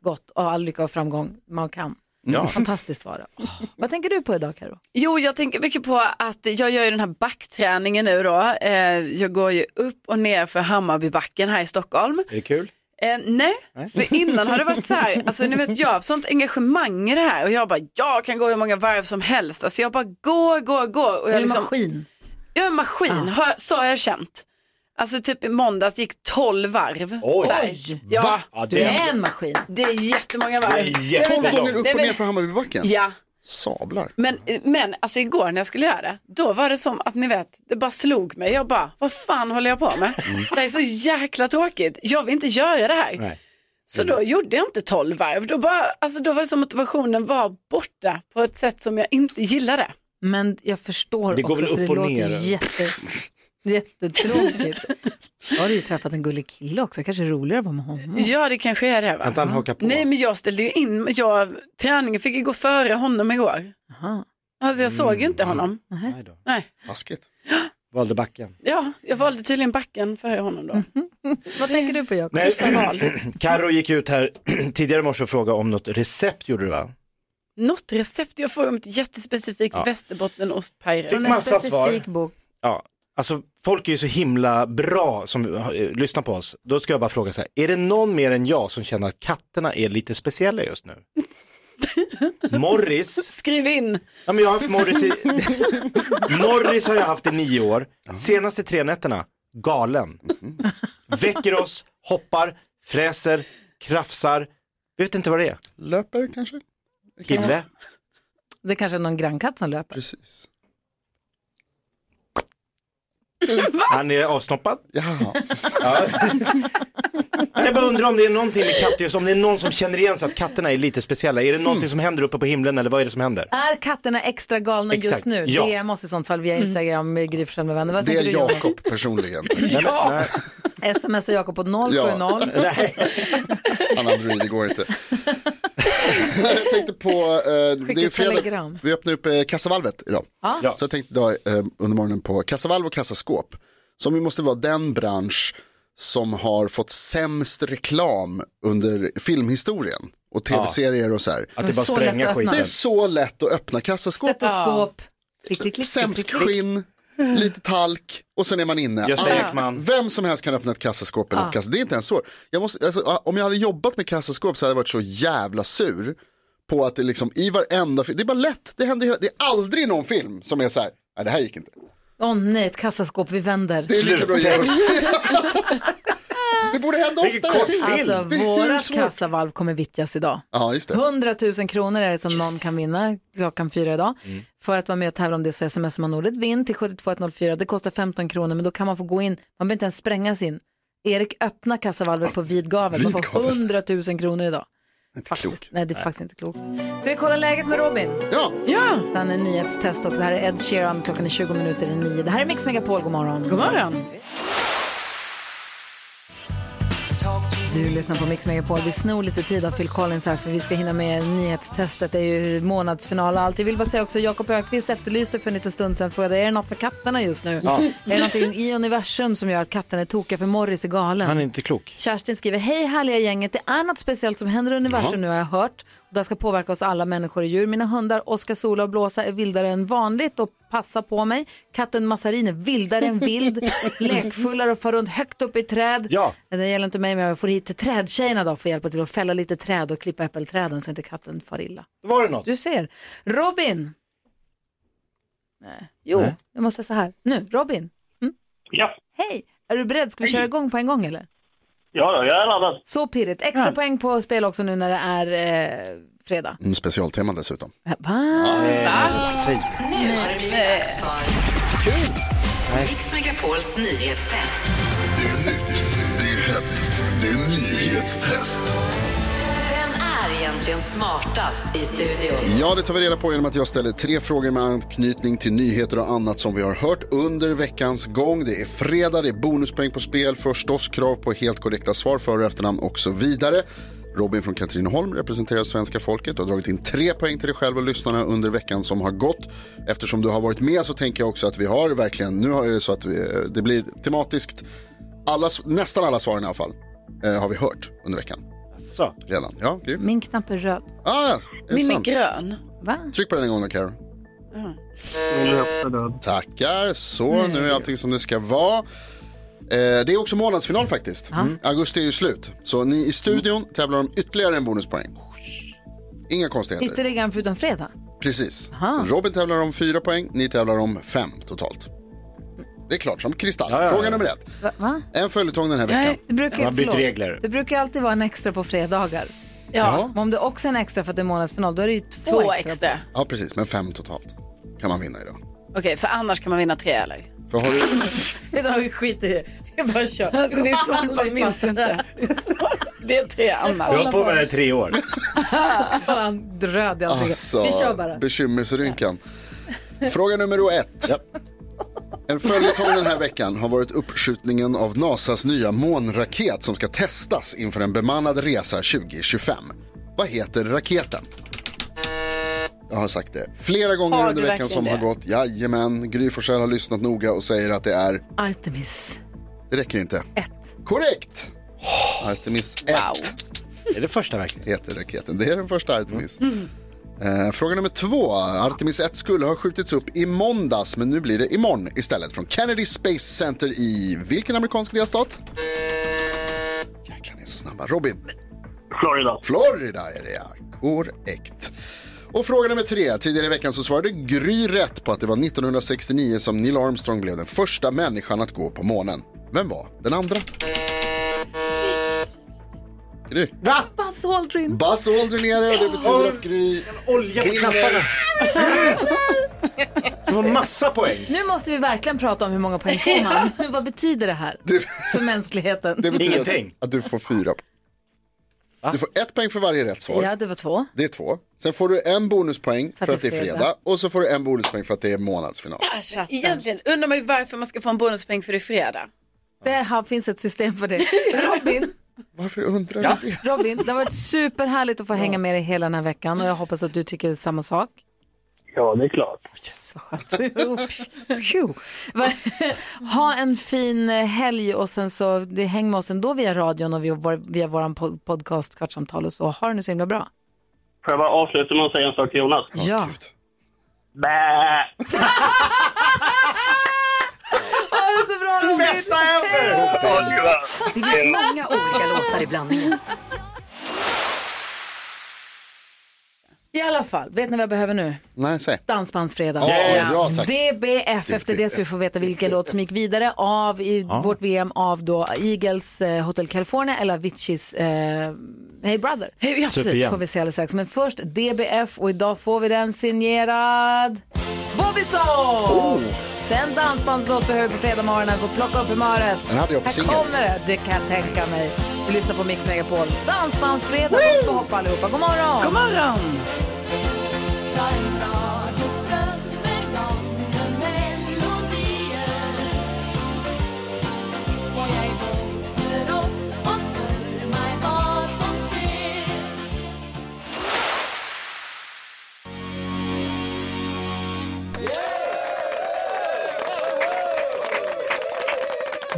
gott och all lycka och framgång man kan. Ja. Fantastiskt var det. Åh, Vad tänker du på idag Karo? Jo, jag tänker mycket på att jag gör ju den här backträningen nu då. Eh, Jag går ju upp och ner för Hammarbybacken här i Stockholm. Är det kul? Eh, nej, Nej. för innan har det varit så här, alltså ni vet jag har haft sånt engagemang i det här och jag bara, jag kan gå hur många varv som helst, alltså jag bara går, går, går. Och Är jag du maskin? Jag är en maskin, har, så har jag känt. Alltså typ i måndags gick 12 varv. Oj. Så här. Oj. Ja. Va? Ja, det- Du är en maskin. Det är jättemånga varv. Tolv gånger upp Nej, och men- ner från Hammarbybacken? Ja. Sablar. Men, men alltså igår när jag skulle göra det, då var det som att ni vet, det bara slog mig. Jag bara, vad fan håller jag på med? Det här är så jäkla tråkigt. Jag vill inte göra det här. Nej. Så då gjorde jag inte 12 varv. Då, bara, alltså, då var det som att motivationen var borta på ett sätt som jag inte gillade. Men jag förstår Det går också väl för upp det och låter ner. jätte, jättetråkigt. Jag har du ju träffat en gullig kille också, kanske är roligare att vara med honom. Ja, det kanske är det. Va? Kan inte han haka på? Nej, men jag ställde ju in, jag, träningen fick ju gå före honom igår. Aha. Mm. Alltså jag såg ju inte honom. Nej Nej. Taskigt. Valde backen. Ja, jag valde tydligen backen före honom Mm. då. Vad tänker du på Jakob? Karo gick ut här tidigare i morse och frågade om något recept gjorde du va? Något recept jag får om ett jättespecifikt Ja. västerbottenostpaj. Fick massa svar. Ja, alltså folk är ju så himla bra som eh, lyssnar på oss. Då ska jag bara fråga så här, är det någon mer än jag som känner att katterna är lite speciella just nu? Morris. Skriv in. Ja, men jag har haft Morris i... Morris har jag haft i nio år. Senaste tre nätterna, galen. Väcker oss, hoppar, fräser, krafsar. Vi vet inte vad det är. Löper kanske? Kille. Det kanske är någon grannkatt som löper. Precis. Han är avsnoppad. Ja. Jag bara undrar om det är någonting med katter, just om det är någon som känner igen sig att katterna är lite speciella. Är det någonting som händer uppe på himlen eller vad är det som händer? Är katterna extra galna just Exakt, nu? ja. Det är måste i sånt fall via Instagram med Gry Forssell med vänner. Vad Det tänker är du Jakob? Jakob personligen. Ja! Smsar Jakob på 070. Ja. Han Android, det går inte. jag tänkte på, eh, det är ju ett fredag, telegram. vi öppnar upp eh, kassavalvet idag. Ja. Så jag tänkte idag eh, under morgonen på kassavalv och kassaskåp. Som ju måste vara den bransch som har fått sämst reklam under filmhistorien. Och tv-serier och så här. Att det bara Så lätt spränga att öppna. skiten. Det är så lätt att öppna kassaskåp. Stetoskop. Klick, klick, klick, Sämst klick, klick. skinn, lite talk och sen är man inne. Gösta Alla- Ekman. Vem som helst kan öppna ett kassaskåp eller Ja. ett kassa. Det är inte ens svårt. Jag måste, alltså, ah, om jag hade jobbat med kassaskåp så hade jag varit så jävla sur på att det liksom i varenda film, det är bara lätt, det händer hela, det är aldrig någon film som är så här, nej det här gick inte. Åh nej, ett kassaskåp, vi vänder. Det är lika bra att ge oss. Det borde hända Vilken oftare. kort film. Alltså Det är hur våra svårt? kassavalv kommer vittjas idag. Ja, just det. 100 000 kronor är det Mm. som någon kan vinna klockan fyra idag. För att vara med och tävla om det så smsar man ordet vinn till 72104. Det kostar 15 kronor men då kan man få gå in, man behöver inte ens spränga sin. Erik öppna kassavalvet på vid gavel. Man får Vidgavel. 100 000 kronor idag. Inte klokt. Nej, det är faktiskt inte klokt. Ska vi kolla läget med Robin? Ja. ja. Sen en nyhetstest också. Här är Ed Sheeran. Klockan är 20 minuter i nio. Det här är Mix Megapol. God morgon. God morgon. Du lyssnar på Mix Megapol. Vi snor lite tid av Phil Collins här för vi ska hinna med nyhetstestet. Det är ju månadsfinal och allt. Jag vill bara säga också, Jakob Ökvist efterlyste för en liten stund sedan frågade, är det något med katterna just nu? Ja. Är det någonting i universum som gör att katten är tokiga för Morris är galen? Han är inte klok. Kerstin skriver, hej härliga gänget, det är något speciellt som händer i universum Jaha. nu har jag hört. Och det ska påverka oss alla människor och djur. Mina hundar Oskar, Sola och Blåsa är vildare än vanligt och passar på mig. Katten Massarin är vildare än vild, lekfullare och far runt högt upp i träd. Ja. Det gäller inte mig men jag får hit trädtjejerna då för att hjälpa till att fälla lite träd och klippa äppelträden så inte katten far illa. Var det något? Du ser. Robin! Nej. Jo, Nej. jag måste så här. Nu, Robin. Mm. Ja. Hej! Är du beredd? Ska vi köra igång på en gång eller? Ja, då, jag är laddad. Så pirrigt. Extra poäng på spel också nu när det är eh, fredag. Mm, specialtema dessutom. Va? Säg. Nu har det blivit dags för Nej. Mix Megapols nyhetstest. Det är nyhetstest. Vem är egentligen smartast i studion? Ja, det tar vi reda på genom att jag ställer tre frågor med anknytning till nyheter och annat som vi har hört under veckans gång. Det är fredag, det är bonuspoäng på spel, förstås krav på helt korrekta svar, för och efternamn och så vidare. Robin från Katrineholm representerar svenska folket och har dragit in tre poäng till dig själv och lyssnarna under veckan som har gått. Eftersom du har varit med så tänker jag också att vi har verkligen, nu är det så att vi, eh, det blir tematiskt, alla, nästan alla svaren i alla fall, eh, har vi hört under veckan. Så. Redan. Ja, grym. Min knapp är röd. Ah, är det Min är sant? grön. Va? Tryck på den en gång då, Karo. Tackar, så Mm. nu är allting som det ska vara. Eh, det är också månadsfinal faktiskt. Mm. Augusti är ju slut. Så ni i studion Mm. tävlar om ytterligare en bonuspoäng. Inga konstigheter. Ytterligare en förutom fredag. Precis. Så Robin tävlar om fyra poäng, ni tävlar om fem totalt. Det är klart som kristall. ja, ja. Fråga nummer ett. Va? Va? En följetong den här veckan. Det brukar, Man har bytt förlåt. regler. Det brukar alltid vara en extra på fredagar. Ja. Men om det också är en extra för att det är månadsfinal, då är det ju två, Två extra. extra. Ja, precis. Men fem totalt kan man vinna idag. Okej, för annars kan man vinna tre eller? För har du... Vet du vad, vi skiter i det. Vi bara kör. Alltså, det är svårt, man minns inte. Det är tre annars. Jag har hållit på med det här i tre år. Fan, röd i ansiktet. Alltså, Vi kör bara. bekymmersrynkan. Fråga nummer ett. En följetong den här veckan har varit uppskjutningen av NASAs nya månraket som ska testas inför en bemannad resa 2025. Vad heter raketen? Jag har sagt det flera gånger Har under du veckan som har verkligen gått. Jajamän, Gry Forssell har lyssnat noga och säger att det är, Artemis. det räcker inte. Ett. Korrekt! Artemis 1. Det är det första verkligen. Heter raketen. Det är den första Artemis. Eh, fråga nummer två. Artemis 1 skulle ha skjutits upp i måndags, men nu blir det imorgon istället. Från Kennedy Space Center i vilken amerikansk delstat? Jäklar, ni är så snabba. Robin? Florida. Florida är det, ja. Korrekt. Och fråga nummer tre. Tidigare i veckan så svarade Gry rätt på att det var 1969 som Neil Armstrong blev den första människan att gå på månen. Vem var den andra? Gry. Va? Buzz Aldrin. Buzz Aldrin är det och det betyder att Gry Olja på knapparna. Du får massa poäng. Nu måste vi verkligen prata om hur många poäng får man. Vad betyder det här för mänskligheten? Det betyder Att, att du får fyra. Du får ett poäng för varje rätt svar. Ja, det var två. Det är två. Sen får du en bonuspoäng för, att det är fredag. fredag. Och så får du en bonuspoäng för att det är månadsfinal. Egentligen undrar man ju varför man ska få en bonuspoäng för det är fredag. Det här finns ett system för det. Robin, Varför undrar du det? Robin, det har varit superhärligt att få hänga med dig hela den här veckan och jag hoppas att du tycker samma sak. Ja, det är klart. Yes, vad skönt. Phew. Va- ha en fin eh, helg och sen så det- häng med oss ändå via radion och via vår, via vår pod- podcast Kvartsamtal och så. Ha det nu så himla bra. Får jag bara avsluta med att säga en sak till Jonas? Ja. Bä! Ha det så bra Robin! Bästa Det finns många olika låtar i blandningen. I alla fall, vet ni vad jag behöver nu? Nej, säg. Dansbandsfredag. Ja, Yes. ja, tack. DBF, efter det ska vi få veta vilken låt som gick vidare av i Ja. vårt VM av då Eagles eh, Hotel California eller Aviciis eh, Hey Brother. Hey, ja, precis. Superjämn. får vi se alldeles strax. Men först DBF och idag får vi den signerad Bobison! Oh. Sen dansbandslåt behöver vi på fredag morgonen för att plocka upp humöret. Den hade jag på Här singel. kommer det, det kan jag tänka mig. Vi lyssnar på Mix Megapol. Dansbandsfredag, upp och hoppa allihopa. God morgon! God morgon!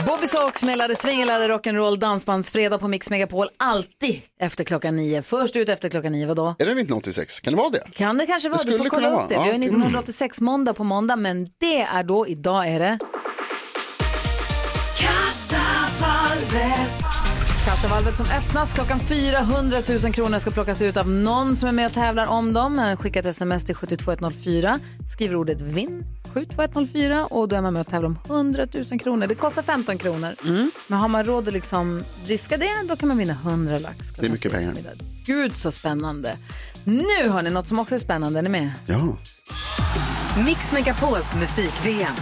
Bobby Sox melade svingelade rock'n'roll dansbandsfredag på Mix Megapol alltid efter klockan nio. Först ut efter klockan nio, vadå? Är det 1986? Kan det vara det? Kan det kanske Det vara, du får skulle kolla kunna upp vara, det. ja. Vi har ju 1986 måndag på måndag, men det är då, idag är det... Kassavalvet! Kassavalvet som öppnas klockan 400 000 kronor ska plockas ut av någon som är med och tävlar om dem. Skicka ett sms till 72104, skriver ordet vinn 72104 och då är man med och tävlar om 100 000 kronor. Det kostar 15 kronor. Mm. Men har man råd att liksom riska det, då kan man vinna 100 lax. Det är mycket pengar. Gud så spännande. Nu har ni något som också är spännande, är ni med? Ja. Mix Megapols musik-VM.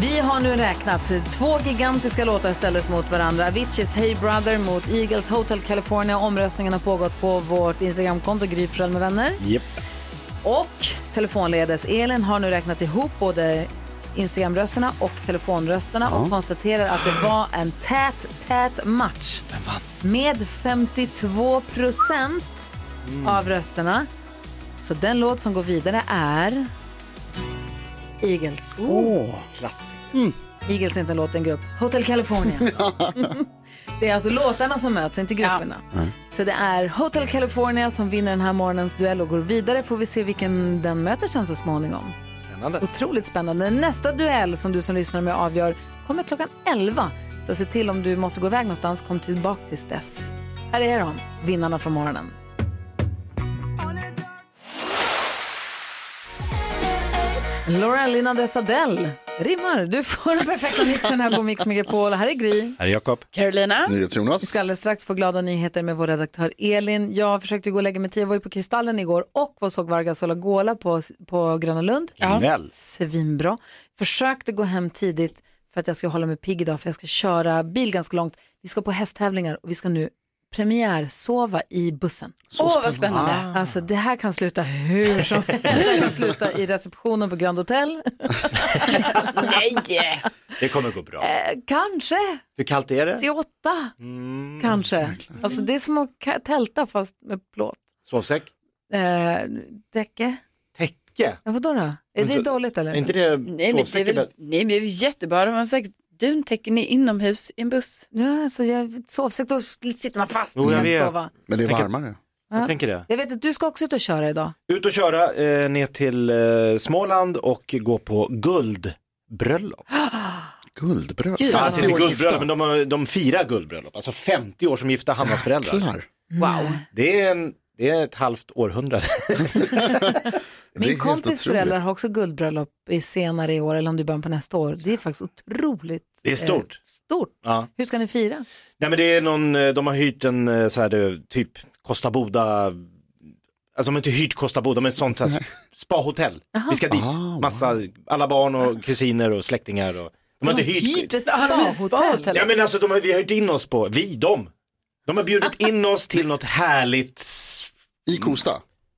Vi har nu räknat. Två gigantiska låtar ställdes mot varandra. Aviciis Hey Brother mot Eagles Hotel California. Omröstningen har pågått på vårt Instagramkonto Gry Forssell med vänner. Japp. Och telefonledes Elin har nu räknat ihop både Instagramrösterna och telefonrösterna och konstaterar att det var en tät, tät match. Med 52 procent Mm. av rösterna. Så den låt som går vidare är Eagles. Åh, klass. Eagles är inte en låt, en grupp. Hotel California. det är alltså låtarna som möts, inte grupperna. Så det är Hotel California som vinner den här morgonens duell och går vidare. Får vi se vilken den möter sen så småningom. Spännande. Otroligt spännande. Nästa duell som du som lyssnar med avgör kommer klockan 11. Så se till om du måste gå iväg någonstans, kom tillbaka tills dess. Här är de, vinnarna från morgonen. Laura Lina Desadell rimmar. Du får den perfekta mixen här på Mix Megapol. Här är Gry. Här är Jakob. Carolina. NyhetsJonas. Ah. Vi ska alldeles strax få glada nyheter med vår redaktör Elin. Jag försökte gå och lägga mig tio, jag var ju på Kristallen igår och var såg Vargas Olagola på, på Gröna Lund. Ja. Kväll. Svinbra. Försökte gå hem tidigt för att jag ska hålla mig pigg idag för jag ska köra bil ganska långt. Vi ska på hästtävlingar och vi ska nu premiärsova i bussen. Så Åh, vad spännande. spännande. Alltså det här kan sluta hur som helst. Det här kan sluta i receptionen på Grand Hotel. Nej! Det kommer gå bra. Eh, kanske. Hur kallt är det? Till Mm, åtta. Kanske. Alltså det är som att ka- tälta fast med plåt. Sovsäck? Eh, däcke? Täcke? Ja, vadå då? Är Men det så- dåligt eller? är inte det Nej, men det är väl, nej, men det är väl jättebra. De har säkert duntäcken i- inomhus i en buss. Ja, så jag, sovsäck, då sitter man fast. Jo, jag Men vet. det är Tänk att- varmare. Ja. Jag tänker det. Jag vet att du ska också ut och köra idag. Ut och köra eh, ner till eh, Småland och gå på guldbröllop. Guldbröllop? Gud, Fanns 50 inte år guldbröllop, gifta. men de, har- de firar guldbröllop. Alltså 50 år som gifta Hannas föräldrar. Wow. Det är, en, det är ett halvt århundrade. Min kompis föräldrar har också guldbröllop i senare i år, eller om det är början på nästa år. Det är faktiskt otroligt Det är stort. eh, stort. Ja. Hur ska ni fira? Nej men det är någon, eh, de har hyrt en eh, så här eh, typ Costa Boda, alltså de har inte hyrt Costa Boda men ett sånt så här sp- spahotell. Vi ska dit, massa, alla barn och kusiner och släktingar. Och, Ah. de har inte hyrt, ett Ja, de har ett spahotell. Ja men alltså de har, vi har hyrt in oss på, vi, de. De har bjudit in oss till något härligt. I Kosta?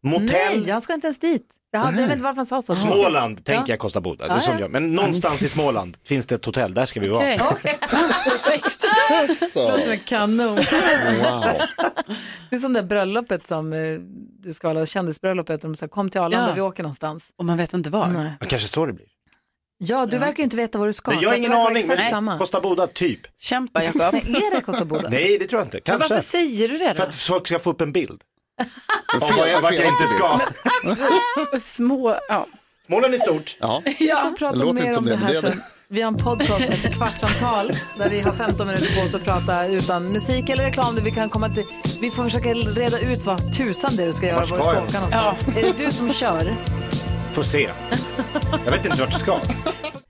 Motell. Nej, jag ska inte ens dit. Jag hade- jag vet inte varför han sa så. Småland Ja. tänker jag Costa Boda, det Ja, är som ja. jag. Men någonstans i Småland finns det ett hotell, där ska vi vara. Okej. Perfekt. Alltså. Låter som en kanon. Wow. Det är som det där bröllopet som eh, du ska hålla, kändisbröllopet, de säger kom till Arlanda, Ja. vi åker någonstans. Och man vet inte var. Nej. Ja, Kanske så det blir. Ja, du verkar ju inte veta vad du ska. Nej, jag så har att ingen det verkar vara aning, exakt men samma. Costa Boda typ. Kämpa Jakob. Men är det Kosovo? Nej, det tror jag inte. Kanske. varför säger du det då? För att folk ska få upp en bild. Av fel- vad jag, vart jag fel- inte ska. Små, ja. Småland är stort. Ja. Jag får prata Det låter inte mer som om det, det men här det är sen. Vi har en podcast som heter Kvartsamtal där vi har 15 minuter på oss att prata utan musik eller reklam. Där vi, kan komma till, vi får försöka reda ut vad tusan det är du ska göra, Vart var du ska ska jag? åka någonstans. Är det du som kör? Får se. Jag vet inte vart jag ska.